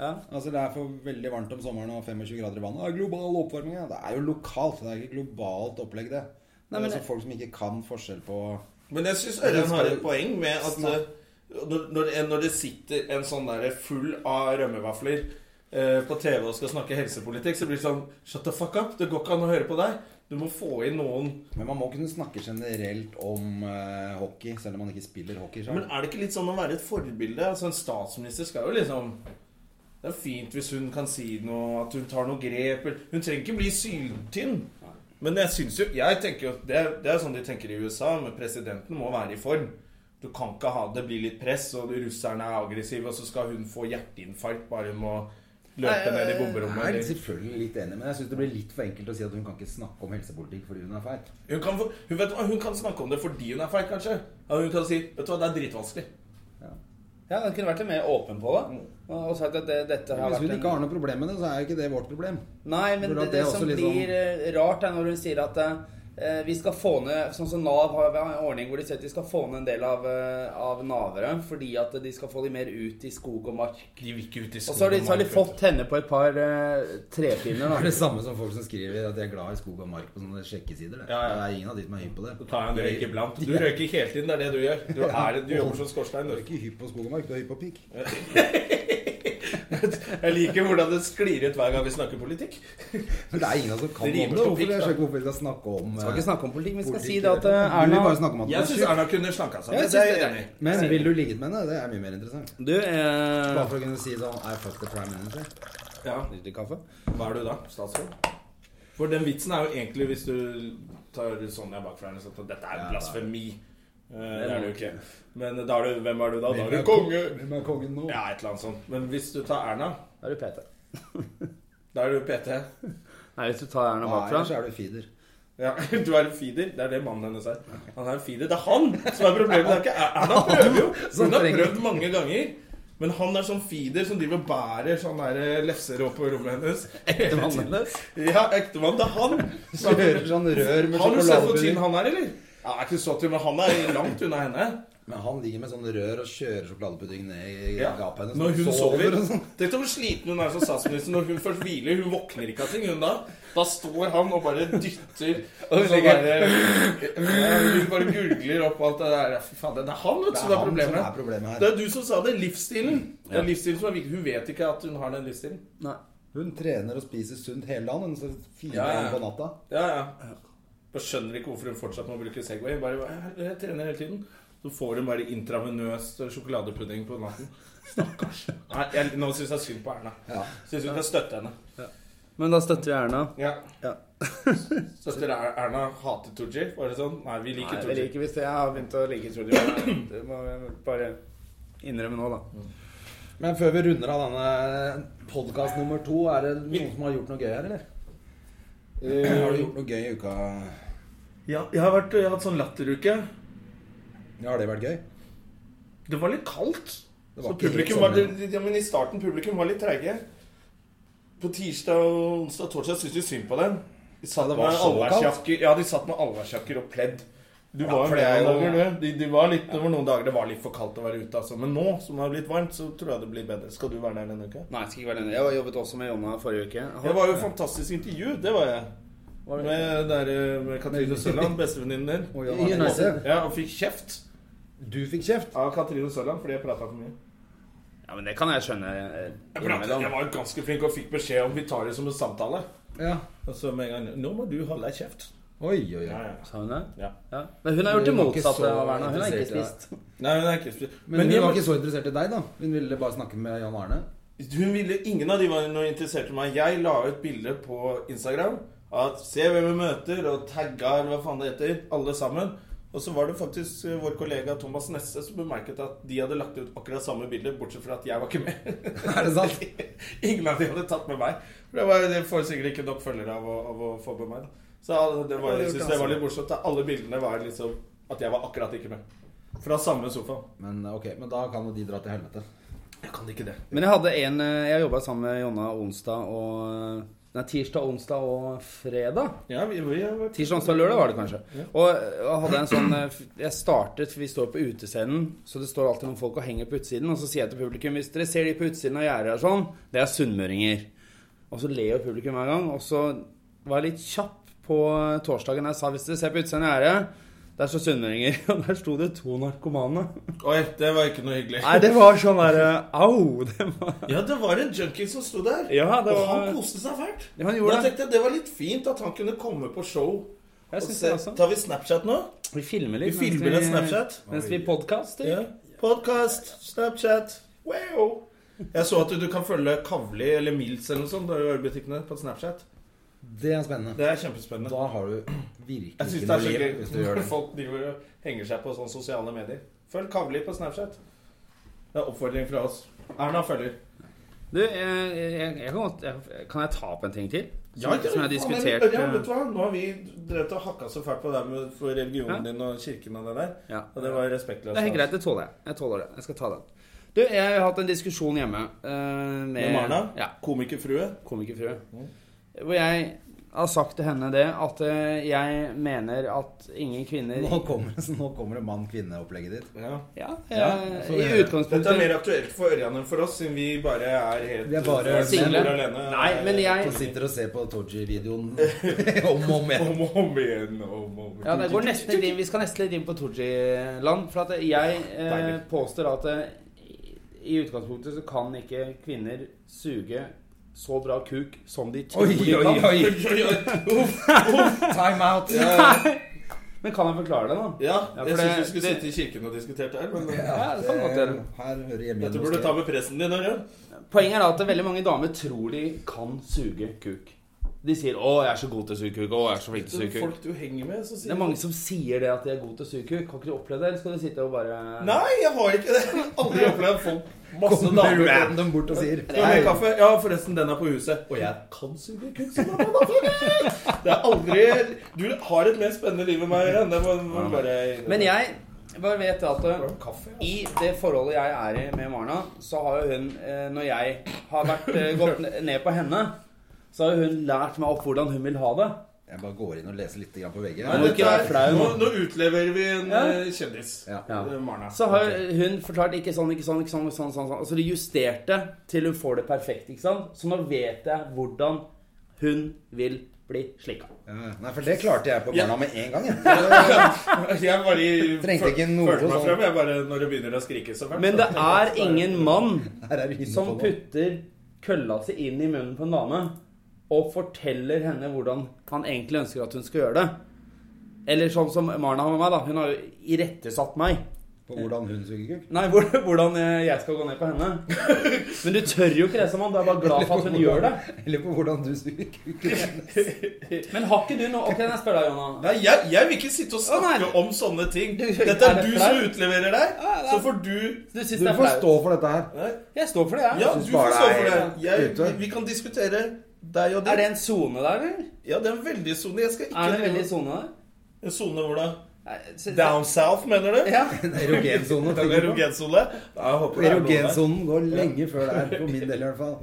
Speaker 2: ja.
Speaker 3: Altså, det er for veldig varmt om sommeren og 25 grader i vannet. «Ja, Global oppvarming, ja. Det er jo lokalt. Det er ikke globalt opplegg, det. Det
Speaker 2: Nei,
Speaker 3: er
Speaker 2: men
Speaker 3: altså
Speaker 2: det-
Speaker 3: folk som ikke kan forskjell på
Speaker 1: Men jeg syns Ørjan har et poeng med at eh, når, når, når det sitter en sånn der full av rømmevafler eh, på TV og skal snakke helsepolitikk, så blir det sånn Shut the fuck up! Det går ikke an å høre på deg. Du må få inn noen
Speaker 3: Men man må kunne snakke generelt om eh, hockey, selv om man ikke spiller hockey sjøl.
Speaker 1: Men er det ikke litt sånn å være et forbilde? Altså En statsminister skal jo liksom Det er fint hvis hun kan si noe, at hun tar noe grep eller- Hun trenger ikke bli syltynn. Men jeg syns jo Jeg tenker jo det, er- det er sånn de tenker i USA, men presidenten må være i form. Du kan ikke ha det blir litt press, og russerne er aggressive, og så skal hun få hjerteinfarkt bare hun må løpe ned i bomberommet.
Speaker 3: Jeg er
Speaker 1: eller-
Speaker 3: selvfølgelig litt enig, men jeg syns det blir litt for enkelt å si at hun kan ikke snakke om helsepolitikk fordi hun er feit.
Speaker 1: Hun kan, få- hun, vet, hva, hun kan snakke om det fordi hun er feil, kanskje. Ja, hun kan si 'Vet du hva, det er dritvanskelig'.
Speaker 2: ja, den kunne vært litt mer åpen på det. Og sagt at det, dette har
Speaker 3: Hvis
Speaker 2: vært
Speaker 3: hun ikke har noe problem med det, så er jo ikke det vårt problem.
Speaker 2: Nei, men det,
Speaker 3: Hvordan at
Speaker 2: det
Speaker 3: det også
Speaker 2: som
Speaker 3: liksom-
Speaker 2: blir eh, rart, er når hun sier at eh, vi skal få ned Sånn som Nav har en ordning hvor de sier at de skal få ned en del av, eh, av navere fordi at de skal få de mer ut i skog og mark.
Speaker 1: De vil ikke ut i
Speaker 2: Og så har de, så har de
Speaker 1: skogen, Mark.
Speaker 2: fått henne på et par eh, trepinner.
Speaker 3: Det
Speaker 2: da.
Speaker 3: er det samme som folk som skriver at de er glad i skog og mark på sånne sjekkesider. Det,
Speaker 1: Ja, ja.
Speaker 3: det er ingen av de som er hypp på det.
Speaker 1: Så tar jeg en røyk iblant. Du røyker ikke hele tiden, det er det du gjør. Du, er, du jobber som skorstein.
Speaker 3: Du
Speaker 1: Du.
Speaker 3: er ikke hypp på skog og mark, du er hypp på pikk.
Speaker 1: Jeg liker hvordan det sklir ut hver gang vi snakker politikk.
Speaker 3: Men det er ingen av oss som
Speaker 1: Det
Speaker 3: kan om det.
Speaker 1: rimer på
Speaker 3: Hvorfor,
Speaker 1: pikk,
Speaker 3: jeg
Speaker 1: da.
Speaker 3: skjønner ikke hvorfor vi skal snakke om
Speaker 2: Vi skal ikke
Speaker 3: eh,
Speaker 2: snakke om politikk, vi skal si
Speaker 3: politikk
Speaker 2: det at
Speaker 3: eller-
Speaker 2: eh,
Speaker 3: Du vil
Speaker 2: Erna
Speaker 3: bare snakke om at
Speaker 1: Jeg
Speaker 3: du
Speaker 1: syns
Speaker 3: er
Speaker 1: Erna kunne slanka seg.
Speaker 2: Jeg
Speaker 1: Det, det er jeg
Speaker 2: synes det
Speaker 1: enig i.
Speaker 2: er-
Speaker 3: syk. Men vil du ligget med henne? Det er mye mer interessant.
Speaker 2: Du eh,
Speaker 3: Bare for å kunne si sånn I fuck the prime minister.
Speaker 1: Ja.
Speaker 2: Litt kaffe?
Speaker 1: Hva er du da? Statsråd? For den vitsen er jo egentlig, hvis du tar Sonja bak for henne, sånn at dette er
Speaker 3: Ja,
Speaker 1: blasfemi. Eh, Det er det jo ikke. Men da er du Hvem er du da? Da er du
Speaker 3: Hvem
Speaker 1: konge!
Speaker 3: Hvem er kongen nå?
Speaker 1: Ja, et eller annet sånt. Men hvis du tar Erna,
Speaker 2: Da er du PT.
Speaker 1: da er du PT.
Speaker 2: Nei, hvis du tar Erna
Speaker 3: Nei, ellers
Speaker 2: bakfra
Speaker 3: er du feeder.
Speaker 1: Ja, Du er en feeder. Det er det mannen hennes er. Han er en feeder. Det er han som er problemet. Det er ikke Erna prøver jo. Hun har prøvd mange ganger. Men han er sånn feeder som driver og bærer sånn der lefser opp på rommet hennes.
Speaker 3: Ektemannen hennes.
Speaker 1: Ja, ektemann. Det er han. Så
Speaker 3: Kjører sånn rør med
Speaker 1: Har du sett hvor
Speaker 3: sjokoladepudding.
Speaker 1: tynn han er, eller? Ja, det er ikke så tynn, men han er langt unna henne.
Speaker 3: Men han ligger med sånn rør og kjører sjokoladepudding ned i
Speaker 1: Ja.
Speaker 3: gapet hennes.
Speaker 1: Når hun sover.
Speaker 3: og sånn.
Speaker 1: Tenk deg hvor sliten hun er som statsminister når hun først hviler. Hun våkner ikke av ting, hun da. Da står han og bare dytter
Speaker 2: Og hun
Speaker 1: sånn
Speaker 2: ligger-
Speaker 1: der- Ja, Hun bare gurgler opp alt det der. Ja, Fy faen, det er han vet, du, som
Speaker 3: Det
Speaker 1: er
Speaker 3: han
Speaker 1: problemet.
Speaker 3: som er problemet
Speaker 1: Det
Speaker 3: her.
Speaker 1: er du som sa det. Livsstilen. Det
Speaker 2: Ja.
Speaker 1: er livsstilen som er viktig. Hun vet ikke at hun har den livsstilen.
Speaker 2: Nei.
Speaker 3: Hun trener og spiser sunt hele dagen, hun, så fire
Speaker 1: Ja, ja.
Speaker 3: ganger på natta.
Speaker 1: Ja, ja. Bare skjønner ikke hvorfor hun fortsatt må bruke Segway. Bare, "Jeg- jeg trener hele tiden. Så får hun bare intravenøs sjokoladepudding på natten. Stakkars. Nei, jeg, nå syns jeg synd på Erna.
Speaker 3: Ja.
Speaker 1: Syns vi kan støtte henne.
Speaker 2: Men da støtter vi Erna.
Speaker 1: Ja.
Speaker 2: Ja.
Speaker 1: Søster Er- Erna hater Tooji? Var det sånn? Nei, vi liker
Speaker 2: Nei, det
Speaker 1: Tooji.
Speaker 2: liker vi. så Jeg har begynt å like Trudy. Det må jeg bare innrømme nå, da.
Speaker 3: Men før vi runder av denne podkast nummer to, er det noen som har gjort noe gøy her, eller? har du gjort noe gøy i uka?
Speaker 1: Ja, jeg har, vært, jeg har hatt sånn latteruke.
Speaker 3: Ja, har det vært gøy?
Speaker 1: Det var litt kaldt.
Speaker 3: Det var
Speaker 1: så
Speaker 3: ikke helt
Speaker 1: publikum var, sånn,
Speaker 3: sommer.
Speaker 1: det- ja, men I starten publikum var litt treige. På tirsdag, og onsdag og torsdag syntes vi synd på dem. De satt
Speaker 3: Ja, det
Speaker 1: med
Speaker 3: var så kaldt.
Speaker 1: allværsjakker ja, de satt med allværsjakker og pledd. Du
Speaker 3: Ja,
Speaker 1: var
Speaker 3: for
Speaker 1: jo
Speaker 3: det er
Speaker 1: med
Speaker 3: jo-
Speaker 1: noen dager, du. De, de var litt, det var noen dager det var litt for kaldt å være ute. Altså. Men nå som det har blitt varmt, så tror jeg det blir bedre. Skal du være der denne uka?
Speaker 2: Nei, jeg skal ikke være enig. Jeg har jobbet også med Jonna forrige uke.
Speaker 1: Det var jo et fantastisk intervju. Det var jeg.
Speaker 2: Var det?
Speaker 1: Med, der, eh, med Katrine Sørland, bestevenninnen din.
Speaker 3: Oi,
Speaker 1: ja.
Speaker 3: ja. I Nice.
Speaker 1: og fikk kjeft
Speaker 3: Du fikk kjeft.
Speaker 1: av Katrine Sørland fordi jeg prata for mye.
Speaker 2: Ja, men det kan jeg skjønne. eh,
Speaker 1: Jeg, pratet, jeg
Speaker 2: innimellom.
Speaker 1: var jo ganske flink og fikk beskjed om vi tar det som en samtale.
Speaker 3: Ja.
Speaker 1: Og så med en gang Nå må du holde deg kjeft.
Speaker 3: Oi, oi, oi.
Speaker 1: ja.
Speaker 2: Sa hun det?
Speaker 1: Ja.
Speaker 2: Ja. Men hun har gjort det
Speaker 3: Hun var ikke
Speaker 2: motsatte
Speaker 3: så
Speaker 2: av Erna. Hun har ikke
Speaker 3: interessert i
Speaker 2: spist.
Speaker 1: Nei, hun er ikke sp-
Speaker 3: Men, hun
Speaker 1: jeg-
Speaker 3: var ikke så interessert i deg, da? Hun ville bare snakke med Jan Arne?
Speaker 1: hun ville, Ingen av de var noe interessert i meg. Jeg la ut bilde på Instagram av at se hvem vi møter, og tagga eller hva faen det heter, alle sammen. Og så var det faktisk eh, vår kollega Thomas Nesse som bemerket at de hadde lagt ut akkurat samme bilde, bortsett fra at jeg var ikke med.
Speaker 3: Er det sant?
Speaker 1: ingen av de hadde tatt med meg. For Det, var, det får sikkert ikke nok følgere av å, av å få med meg. da. Så alle- det var, jeg synes det var litt morsomt. at Alle bildene var liksom at jeg var akkurat ikke med. Fra samme sofa.
Speaker 3: Men ok, men da kan jo de dra til helvete.
Speaker 1: Jeg kan ikke det.
Speaker 2: Men jeg hadde en eh, Jeg jobba sammen med Jonna onsdag og Nei, tirsdag, onsdag og fredag.
Speaker 1: Ja, vi, vi har vært
Speaker 2: Tirsdag, onsdag, lørdag var det kanskje.
Speaker 1: Ja.
Speaker 2: Og jeg hadde en sånn eh, f- Jeg startet, for vi står på utescenen, så det står alltid noen folk og henger på utsiden. Og så sier jeg til publikum hvis dere ser de på utsiden av gjerdet og sånn, det er sunnmøringer. Og så ler jo publikum hver gang. Og så var jeg litt kjapp på eh, torsdagen jeg sa hvis dere ser på utsiden av gjerdet, der står sunnmøringer. Og der sto det to narkomane.
Speaker 1: Oi, det var ikke noe hyggelig.
Speaker 2: Nei, det var sånn derre Au! Det var
Speaker 1: Ja, det var en junkie som sto der.
Speaker 2: Ja, det
Speaker 1: Og han
Speaker 2: var
Speaker 1: koste seg fælt.
Speaker 2: Ja, han
Speaker 1: Da
Speaker 2: gjorde det.
Speaker 1: tenkte jeg det var litt fint at han kunne komme på show.
Speaker 2: Jeg
Speaker 1: Og
Speaker 2: synes
Speaker 1: se-
Speaker 2: det også.
Speaker 1: Tar vi Snapchat nå?
Speaker 2: Vi filmer
Speaker 1: Vi
Speaker 2: litt.
Speaker 1: filmer en Snapchat.
Speaker 2: Mens vi podkaster.
Speaker 1: Ja. Podkast, Snapchat. Wow! Jeg så at du, du kan følge Kavli eller Mills eller noe sånt da i ørebutikkene på Snapchat.
Speaker 3: Det er spennende.
Speaker 1: Det er kjempespennende.
Speaker 3: Da har du virkelig
Speaker 1: Jeg syns det
Speaker 3: ikke noe
Speaker 1: er så
Speaker 3: liv hvis du
Speaker 1: gøy
Speaker 3: gjør
Speaker 1: når
Speaker 3: det.
Speaker 1: folk driver og henger seg på sånne sosiale medier. Følg Kavli på Snapchat. Det er oppfordring fra oss. Erna følger.
Speaker 2: Du, jeg, jeg, jeg kan, godt, jeg, kan jeg ta opp en ting til? Som, som jeg har
Speaker 1: men,
Speaker 2: diskutert
Speaker 1: Ørjan, vet
Speaker 2: eh,
Speaker 1: du hva? Nå har vi drevet og hakka så fælt på det med for religionen din og kirken og det der.
Speaker 2: ja.
Speaker 1: Og det var respektløst. altså.
Speaker 2: Det
Speaker 1: av
Speaker 2: er helt
Speaker 1: oss.
Speaker 2: greit, det tåler jeg. Jeg tåler det. Jeg skal ta den. Du, jeg har hatt en diskusjon hjemme eh, med,
Speaker 1: Med Marna?
Speaker 2: Ja,
Speaker 1: Komikerfrue.
Speaker 2: komikerfrue.
Speaker 1: Mm.
Speaker 2: Hvor jeg har sagt til henne det at eh, jeg mener at ingen kvinner
Speaker 3: Nå kommer, så nå kommer det mann-kvinne-opplegget ditt.
Speaker 1: Ja.
Speaker 2: Ja,
Speaker 3: Ja,
Speaker 2: eh,
Speaker 3: så
Speaker 2: i
Speaker 3: gjør
Speaker 1: Dette
Speaker 3: jeg.
Speaker 1: er
Speaker 2: utgangspunktet
Speaker 1: mer aktuelt for Ørjan enn for oss, siden vi bare er helt
Speaker 3: Vi er bare
Speaker 1: eh,
Speaker 2: single.
Speaker 1: alene.
Speaker 2: Nei, men jeg
Speaker 3: Som sitter og ser på Toji-videoen om og om igjen.
Speaker 1: Om og om igjen og om og om.
Speaker 2: Ja, det går nesten litt inn. Vi skal nesten litt inn på Tooji-land. For at jeg eh,
Speaker 1: Deilig.
Speaker 2: påstår at eh, i utgangspunktet så kan ikke kvinner suge så bra kuk som de tror
Speaker 3: Oi,
Speaker 2: de
Speaker 3: oi,
Speaker 2: kan.
Speaker 3: oi!
Speaker 1: Uff.
Speaker 3: Time out!
Speaker 2: Men kan jeg forklare det, da?
Speaker 1: Ja,
Speaker 2: Ja, for
Speaker 1: jeg
Speaker 2: det-
Speaker 1: syns vi skulle
Speaker 2: det-
Speaker 1: sitte i kirken og diskutert det her, men eh,
Speaker 3: Ja,
Speaker 2: Ja, det kan godt gjøre.
Speaker 3: Her hører hjemme
Speaker 1: dette
Speaker 3: igjen
Speaker 1: burde du ta med presten din, Ørjan.
Speaker 2: Poenget er da at veldig mange damer tror de kan suge kuk. De sier 'Å, jeg er så god til å suge kuk'. 'Å, jeg er så flink til å suge kuk'.
Speaker 1: Folk du henger med, så
Speaker 2: Det er
Speaker 1: sier
Speaker 2: mange som sier det at de er gode til å suge kuk. Kan ikke du oppleve det? Eller skal du sitte og bare
Speaker 1: Nei, jeg har ikke det. Jeg har Aldri opplevd folk Masse
Speaker 3: Kommer
Speaker 1: damer med
Speaker 3: random bort og sier
Speaker 1: Skal du ha mer kaffe? Ja, forresten, den er på huset. Og jeg kan suge kuk som en motherfucker! Det er aldri Du har et mer spennende liv enn meg. Ørjan. Det må, må du bare
Speaker 2: Men jeg bare vet at eh,
Speaker 1: Kaffe? ja.
Speaker 2: I det forholdet jeg er i med Marna, så har jo hun, eh, når jeg har vært, eh, gått ne- ned på henne, så har jo hun lært meg opp hvordan hun vil ha det.
Speaker 3: Jeg bare går inn og leser litt grann på VG.
Speaker 1: Nei,
Speaker 2: må
Speaker 1: dette
Speaker 2: ikke være
Speaker 1: er-
Speaker 2: flau,
Speaker 1: nå,
Speaker 2: nå.
Speaker 1: nå utleverer vi en
Speaker 2: Ja.
Speaker 1: eh, kjendis.
Speaker 3: Ja.
Speaker 2: Ja.
Speaker 1: Eh, Marna.
Speaker 2: Så har hun forklart ikke sånn, ikke sånn, ikke sånn, sånn, sånn, sånn. Altså de justerte til hun får det perfekt, ikke sant? Så nå vet jeg hvordan hun vil bli slikka.
Speaker 3: Ja, Nei, for det klarte jeg på
Speaker 1: Ja.
Speaker 3: barna med en gang. Jeg.
Speaker 1: Jeg bare
Speaker 3: Trengte
Speaker 1: føl-
Speaker 3: ikke noe
Speaker 1: følte meg
Speaker 3: sånn.
Speaker 1: frem. Jeg bare, når det begynner å skrike så fælt
Speaker 2: Men det er ingen mann
Speaker 3: Her er du inne
Speaker 2: som
Speaker 3: på noe.
Speaker 2: putter kølla si inn i munnen på en dame og forteller henne hvordan han egentlig ønsker at hun skal gjøre det. Eller sånn som Marna har med meg, da. Hun har jo irettesatt meg.
Speaker 3: På hvordan hun suger kuk.
Speaker 2: Nei, hvor, hvordan eh, jeg skal gå ned på henne. Men du tør jo ikke det som mann. Du er bare glad for at hun gjør det.
Speaker 3: Eller på hvordan du suger kuk.
Speaker 2: Men har ikke du noe Ok, jeg spør deg, Jonna.
Speaker 1: Nei, jeg, jeg vil ikke sitte og
Speaker 2: Å, nei.
Speaker 1: snakke om sånne ting.
Speaker 2: Du-
Speaker 1: Dette
Speaker 2: Er
Speaker 1: er
Speaker 2: det
Speaker 1: du
Speaker 2: flaut?
Speaker 1: som utleverer deg.
Speaker 2: Ja, det er-
Speaker 1: Så får du
Speaker 2: Du syns
Speaker 3: Du
Speaker 2: det er
Speaker 3: får
Speaker 2: flaut?
Speaker 3: stå for dette her.
Speaker 1: Nei,
Speaker 2: Jeg står for det, jeg.
Speaker 1: Ja,
Speaker 3: synes
Speaker 1: du
Speaker 3: bare
Speaker 1: får stå
Speaker 3: det
Speaker 1: for
Speaker 3: er
Speaker 1: det. Jeg,
Speaker 3: ute.
Speaker 1: vi, vi kan diskutere deg og
Speaker 2: Er det
Speaker 1: det.
Speaker 2: en sone der, eller?
Speaker 1: Ja, det er en veldig sone. Jeg skal ikke
Speaker 2: Er det en
Speaker 1: drive-
Speaker 2: veldig sone der?
Speaker 1: En sone hvor da?
Speaker 2: Nei, så-
Speaker 1: Down south, mener du?
Speaker 2: Ja.
Speaker 3: En erogensone.
Speaker 1: En
Speaker 3: tenker du på?
Speaker 1: Erogensone? Ja, jeg håper det er lov der.
Speaker 3: Erogensonen går lenge før det er, for min del i hvert fall.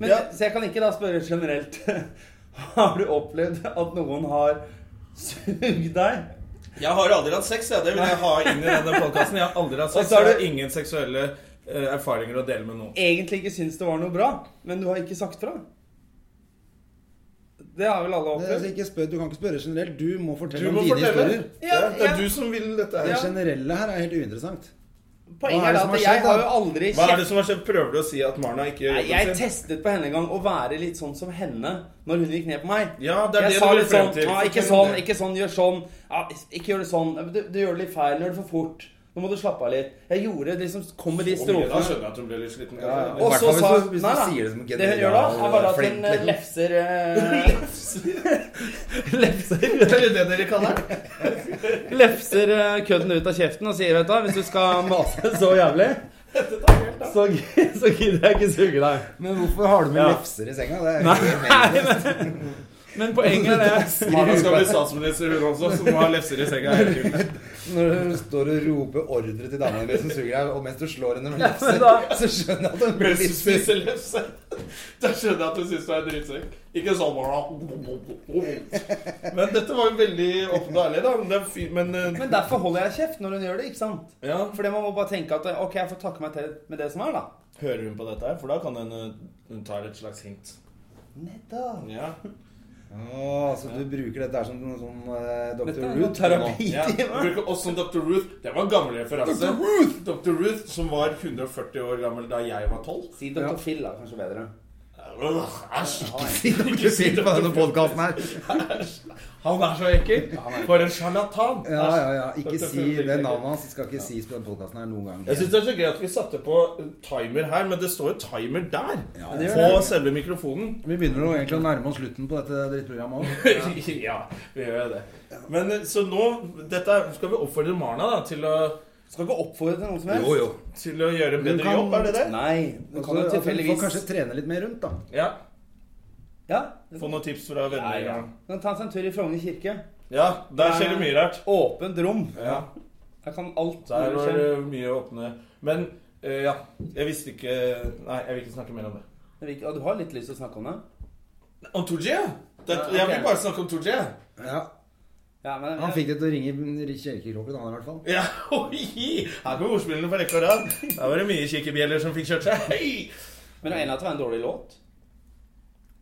Speaker 2: Men,
Speaker 1: Ja.
Speaker 2: Så jeg kan ikke da spørre generelt Har du opplevd at noen har sugd deg?
Speaker 1: Jeg har aldri hatt sex, jeg. Det vil jeg ha inn i denne podkasten. Jeg har aldri hatt
Speaker 2: Og
Speaker 1: sex.
Speaker 2: så
Speaker 1: Jeg
Speaker 2: er du-
Speaker 1: har ingen seksuelle eh, erfaringer å dele med noen.
Speaker 2: Egentlig ikke syns det var noe bra, men du har ikke sagt fra? Det har vel alle
Speaker 3: Det er altså
Speaker 2: opplevd?
Speaker 3: ikke spør, du kan ikke spørre generelt. Du må
Speaker 1: Du
Speaker 3: fortelle
Speaker 1: må
Speaker 3: om dine
Speaker 1: fortelle.
Speaker 3: historier.
Speaker 1: Ja,
Speaker 2: Ja,
Speaker 1: det
Speaker 2: ja.
Speaker 1: er du som vil dette her.
Speaker 3: Det
Speaker 2: Ja.
Speaker 3: generelle her er helt uinteressant.
Speaker 2: Poenget
Speaker 3: Hva er
Speaker 2: er
Speaker 3: det
Speaker 2: da
Speaker 3: som
Speaker 2: at
Speaker 3: har skjedd,
Speaker 2: jeg har
Speaker 3: da?
Speaker 2: jo aldri
Speaker 1: Hva er
Speaker 2: kjeft-
Speaker 1: det som har skjedd? Prøver du å si at Marna ikke gjør
Speaker 2: Nei, jeg
Speaker 1: jobben sin?
Speaker 2: testet på henne en gang å være litt sånn som henne når hun gikk ned på meg.
Speaker 1: Ja, det er
Speaker 2: jeg
Speaker 1: det
Speaker 2: sa
Speaker 1: du vil
Speaker 2: litt
Speaker 1: frem
Speaker 2: sånn
Speaker 1: til.
Speaker 2: «Ah, ikke
Speaker 1: Fortell om
Speaker 2: sånn,
Speaker 1: det.
Speaker 2: ikke sånn, gjør sånn. Ja, ikke gjør det sånn. Du, du gjør det litt feil, gjør det for fort. Nå må du slappe av litt. Jeg gjorde det liksom Kom med de
Speaker 1: Å, men Da
Speaker 2: strofene.
Speaker 1: skjønner jeg at hun ble litt sliten.
Speaker 3: Ja,
Speaker 1: kanskje.
Speaker 3: I
Speaker 2: Og
Speaker 3: hvert
Speaker 2: så
Speaker 3: fall hvis
Speaker 2: sa
Speaker 3: du- hvis du
Speaker 2: Nei da.
Speaker 3: sier det som
Speaker 2: Det hun gjør da, er bare at
Speaker 3: flink,
Speaker 2: hun eh,
Speaker 3: liksom.
Speaker 2: lefser eh, Lefser
Speaker 1: Det er det dere kaller det.
Speaker 2: Lefser eh, kødden ut av kjeften og sier, vet du, hva, hvis du skal mase så jævlig, så, gi- så gidder jeg ikke suge deg.
Speaker 3: Men hvorfor har du med
Speaker 2: Ja.
Speaker 3: lefser i senga? Det er
Speaker 2: Nei,
Speaker 3: helt meningsløst.
Speaker 2: Men poenget er det
Speaker 1: Marna skal bli statsminister, hun også, så må ha lefser i senga. hele tiden.
Speaker 3: Når du står og roper ordre til dama di som suger deg, og mens du slår henne med
Speaker 2: Ja, men
Speaker 3: lefser,
Speaker 2: da-
Speaker 3: så skjønner jeg at hun blir
Speaker 1: Mens hun
Speaker 3: litt sur.
Speaker 1: spiser lefse. Da skjønner jeg at hun syns du er drittsekk. Ikke sånn Marna. Men dette var jo veldig åpent og ærlig, da. Men det er fint, men eh,
Speaker 2: Men derfor holder jeg kjeft når hun gjør det, ikke sant?
Speaker 1: ja.
Speaker 2: Fordi man må bare tenke at ok, jeg får takke meg til med det som er, da.
Speaker 1: Hører hun på dette her? For da kan hun, eh, hun tar et slags hint.
Speaker 2: Nettopp.
Speaker 1: Ja.
Speaker 3: Å, så du bruker dette her som noe sånn eh,
Speaker 2: Dette
Speaker 3: Dr.
Speaker 2: er noe
Speaker 3: Root?
Speaker 2: terapi.
Speaker 1: Ja. Bruker også Dr. Ruth. Det var en gammel referanse.
Speaker 3: Dr.
Speaker 1: Ruth! Dr. Ruth, Som var 140 år gammel da jeg var 12.
Speaker 2: Si Dr.
Speaker 3: Ja.
Speaker 2: Phil, da. Kanskje bedre.
Speaker 1: Øh, Æsj!
Speaker 3: Ikke si det på denne podkasten her.
Speaker 1: Han er så ekkel! For en sjarlatan!
Speaker 3: Ja, ja, ja. Ikke
Speaker 1: Dr.
Speaker 3: si
Speaker 1: Phil,
Speaker 3: det
Speaker 1: ikke.
Speaker 3: navnet hans. Skal ikke sies på denne podkasten her noen gang.
Speaker 1: Jeg syns det er så gøy at vi satte på timer her, men det står jo timer der!
Speaker 3: Ja,
Speaker 2: det gjør
Speaker 1: på
Speaker 2: det.
Speaker 1: selve mikrofonen.
Speaker 3: Vi begynner jo egentlig å nærme oss slutten på dette drittprogrammet òg.
Speaker 1: ja, vi gjør jo det. Men eh, så nå dette, er- Skal vi oppfordre Marna da, til å,
Speaker 2: Skal ikke oppfordre til noe som helst.
Speaker 3: jo.
Speaker 1: til å gjøre en
Speaker 3: Hun
Speaker 1: bedre
Speaker 3: kan-
Speaker 1: jobb? Er det det?
Speaker 2: Nei. Du kan
Speaker 3: Altså,
Speaker 2: jo
Speaker 3: at hun får
Speaker 2: tilfeldigvis
Speaker 3: kanskje trene litt mer rundt, da.
Speaker 1: Ja.
Speaker 2: Ja.
Speaker 1: Få noen tips fra venner.
Speaker 2: Nei, ja. Kan ta oss en tur i Frogner kirke.
Speaker 1: Ja, der skjer det mye rart.
Speaker 2: Åpent rom.
Speaker 1: Ja,
Speaker 2: Der kan alt
Speaker 1: Der
Speaker 2: mulig
Speaker 1: var
Speaker 2: skje.
Speaker 1: det mye åpne. Men eh, ja, jeg visste ikke Nei, jeg vil ikke snakke mer om det.
Speaker 2: Det er ikke- Ja, Du har litt lyst til å snakke om det?
Speaker 1: Om 2G? Det,
Speaker 2: Ja, ok.
Speaker 1: Jeg vil bare snakke om 2G.
Speaker 3: Ja,
Speaker 2: Ja, men
Speaker 3: Han fikk det til å ringe kjelkekroken, han i hvert fall.
Speaker 1: Ja, oi! Her kommer ordspillene på rekke og rad. Der var det mye kikkebjeller som fikk kjørt seg. Hei!
Speaker 2: Men det ene at det var en dårlig låt.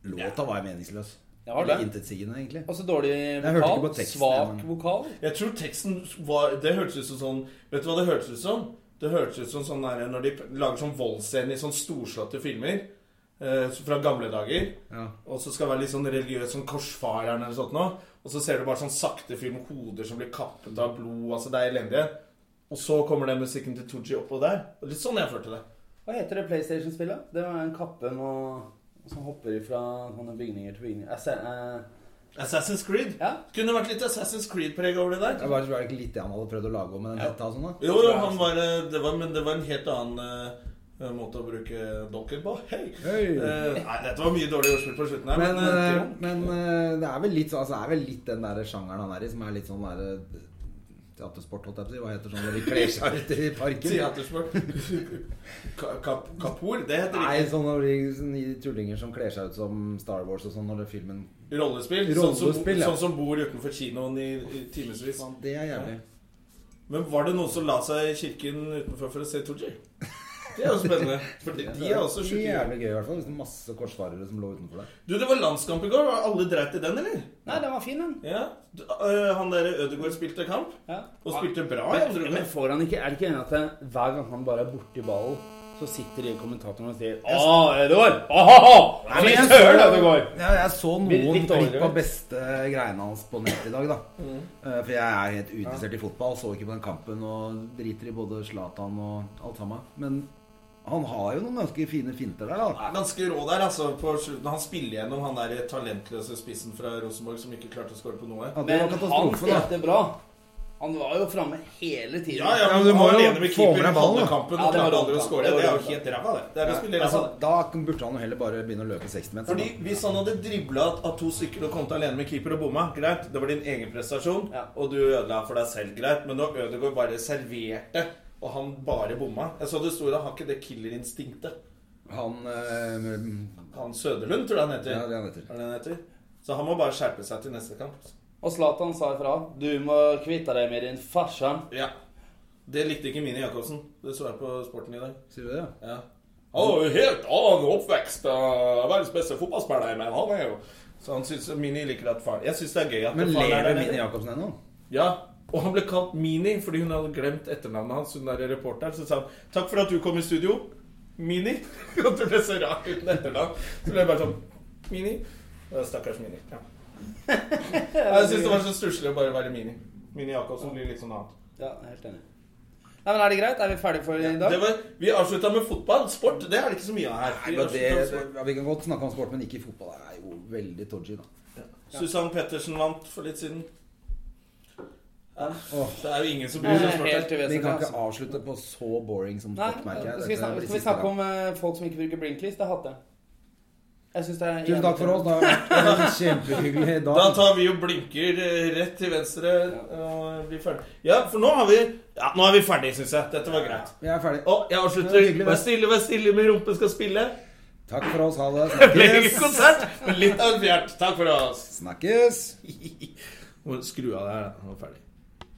Speaker 3: Låta var jo meningsløs.
Speaker 2: Det var
Speaker 3: Eller
Speaker 2: det.
Speaker 3: Intetsigende, egentlig.
Speaker 2: Også dårlig
Speaker 3: hørte ikke
Speaker 2: vokal.
Speaker 3: på teksten,
Speaker 2: Svak
Speaker 3: men-
Speaker 2: vokal.
Speaker 1: Jeg tror teksten var Det hørtes ut som sånn Vet du hva det hørtes ut som? Det hørtes ut som sånn der, når de lager sånn voldsscene i sånn storslåtte filmer eh, fra gamle dager.
Speaker 3: Ja.
Speaker 1: Og så skal det være litt sånn religiøs, sånn korsfareren eller sånt nå. Og så ser du bare sånn sakte film, hoder som blir kappet av blod, altså det er elendig. Og så kommer den musikken til Tooji oppå der. Og litt sånn jeg følte det.
Speaker 2: Hva heter det PlayStation-spillet? Det var en kappe med som hopper ifra sånne bygninger til bygninger. Jeg ser, eh,
Speaker 1: Assassin's Creed.
Speaker 2: ja.
Speaker 1: Kunne vært litt Assassin's Creed-preg over det
Speaker 3: Det
Speaker 1: der.
Speaker 3: var var det ikke litt det han hadde prøvd å lage om med den hetta og sånn, da?
Speaker 1: Jo, jo, han var,
Speaker 3: altså.
Speaker 1: eh, det var Men det var en helt annen eh, måte å bruke dokker på. Hei!
Speaker 3: Hei.
Speaker 1: Eh, nei, dette var mye dårlig ordspill på slutten her,
Speaker 3: Men,
Speaker 1: men,
Speaker 3: eh,
Speaker 1: eh,
Speaker 3: men eh, det er vel litt så- altså, det er vel litt den der sjangeren han er i, som er litt sånn der eh, Teatersport, holdt jeg på å si. Hva heter sånn når de kler seg ut i parken?
Speaker 1: Teatersport. Ka- Kap Kapor, det heter
Speaker 3: Nei, sånn
Speaker 1: ikke.
Speaker 3: sånne, sånne tullinger som kler seg ut som Star Wars og sånn når det filmen
Speaker 1: Rollespill. Sånn som,
Speaker 3: Rollespill, ja.
Speaker 1: sånn som bor utenfor kinoen i, i timevis.
Speaker 3: Faen, Det er jævlig.
Speaker 1: Men var det noen som la seg i kirken utenfor for å se Tooji? Det er jo spennende. For de, de er også
Speaker 3: Det
Speaker 1: sjuke.
Speaker 3: Jævlig gøy, i hvert fall. Hvis det er masse korsfarere som lå utenfor der.
Speaker 1: Du, det var landskamp i går. Var Alle dreit i den, eller?
Speaker 2: Nei, den var fin, den.
Speaker 1: Ja. Du, øh, han der Ødegaard spilte kamp.
Speaker 2: Ja.
Speaker 1: Og spilte bra. i andre
Speaker 2: Men,
Speaker 1: runde.
Speaker 2: men får han ikke, er det ikke enig at det, hver gang han bare er borti ballen, så sitter de kommentatorene og sier Å, Edvard! Åhåhå! Fy søren, Ødegaard!
Speaker 3: Ja, jeg så
Speaker 2: Litt-
Speaker 3: noen
Speaker 2: litt Mm. dårligere.
Speaker 3: klipp av beste greiene hans på nett i dag, da. Eh, For jeg er helt uinteressert i fotball, så ikke på den kampen og driter i både Zlatan og alt sammen. Men han har jo noen ganske fine finter der, da.
Speaker 1: Han er ganske rå der, altså. På slutten. Han spiller gjennom han der talentløse spissen fra Rosenborg som ikke klarte å skåre på noe.
Speaker 3: Ja, det
Speaker 2: Men
Speaker 3: var
Speaker 2: han
Speaker 3: katastrofe, da.
Speaker 2: spilte bra. Han var jo framme hele tiden.
Speaker 1: Ja, ja,
Speaker 3: Ja, men
Speaker 1: men
Speaker 3: du må
Speaker 1: han
Speaker 3: jo
Speaker 1: alene med
Speaker 3: få
Speaker 1: keeper
Speaker 3: med
Speaker 1: i
Speaker 3: deg ballen, da.
Speaker 1: halvkampen
Speaker 2: Ja,
Speaker 1: og
Speaker 2: det var
Speaker 1: klarte aldri å
Speaker 2: dumt,
Speaker 1: skåre.
Speaker 2: da.
Speaker 1: Det er jo
Speaker 2: Det var
Speaker 1: helt ræva, det. Det er å spille
Speaker 3: Altså,
Speaker 1: ræva.
Speaker 3: da burde han jo heller bare begynne å løpe 60 meter.
Speaker 1: Fordi
Speaker 3: da.
Speaker 1: Hvis han hadde dribla av to stykker og kommet alene med keeper og bomma, greit. Det var din egen prestasjon,
Speaker 2: Ja.
Speaker 1: og du ødela for deg selv, greit. Men når Ødegaard bare serverte, og han bare bomma Jeg så det sto i det, har ikke det killerinstinktet.
Speaker 3: Han eh,
Speaker 1: Han Søderlund, tror jeg han heter.
Speaker 3: Ja, det er han heter.
Speaker 1: Er det han heter. Så han må bare skjerpe seg til neste kamp.
Speaker 2: Og Zlatan sa ifra. Du må kvitte deg med din farsan.
Speaker 1: Ja. Det likte ikke Mini Jacobsen. Det så jeg på Sporten i dag.
Speaker 3: Sier du det, ja?
Speaker 1: Ja. Han var jo helt annen oppvekst. Uh, verdens beste fotballspiller, men han er jo Så han syns Mini liker at faren Jeg syns det er gøy at
Speaker 3: Men
Speaker 1: faren er
Speaker 3: lever
Speaker 1: der.
Speaker 3: Mini
Speaker 1: nede.
Speaker 3: Jacobsen ennå?
Speaker 1: Ja. Og han ble kalt Mini fordi hun hadde glemt etternavnet hans. Hun der reporteren Så sa han 'Takk for at du kom i studio, Mini'. Og du ble så rar uten etternavn. Så ble jeg bare sånn Mini. Ja, Stakkars Mini. Ja. Jeg syns det var så stusslig å bare være Mini. Mini Jacobsen blir litt sånn annet.
Speaker 2: Ja, helt enig. Nei, men Er det greit? Er vi ferdige for i dag?
Speaker 1: Det var, vi avslutta med fotball. Sport, det er det ikke så mye av her.
Speaker 3: Nei,
Speaker 1: Vi
Speaker 3: men det,
Speaker 1: avsluttet med sport.
Speaker 3: ja, vi kan godt snakke om sport, men ikke i fotball. Det er jo veldig dodgy, da.
Speaker 1: Susann Pettersen vant for litt siden. Ja.
Speaker 3: Åh.
Speaker 1: Det er jo ingen som bryr
Speaker 2: Nei,
Speaker 1: seg om
Speaker 2: helt
Speaker 1: sport. her.
Speaker 3: Vi
Speaker 2: uvesentlig.
Speaker 3: kan ikke
Speaker 2: altså.
Speaker 3: avslutte på så boring som
Speaker 2: Nei,
Speaker 3: sport, merker jeg.
Speaker 2: skal vi
Speaker 3: Dette
Speaker 2: snakke,
Speaker 3: blir
Speaker 2: skal vi
Speaker 3: siste
Speaker 2: snakke
Speaker 3: gang.
Speaker 2: om eh, folk som ikke bruker blinklys? Det hater jeg. Jeg synes det er
Speaker 3: Tusen takk for oss. Det har vært en kjempehyggelig dag.
Speaker 1: Da tar vi og blinker eh, rett til venstre og blir ferdig. Ja, for nå har vi Ja, nå er vi ferdig, syns jeg. Dette var greit.
Speaker 3: Vi er ferdige.
Speaker 1: Og jeg
Speaker 3: Det
Speaker 1: avslutter.
Speaker 3: var hyggelig, det.
Speaker 1: Vær stille, vær stille, min rumpe skal spille.
Speaker 3: Takk for oss. Ha det.
Speaker 1: Det ble ingen
Speaker 3: Snakkes.
Speaker 1: konsert, men litt av hvert. Takk for oss.
Speaker 3: Snakkes.
Speaker 1: Må Skru av det her, da. Nå er vi ferdig.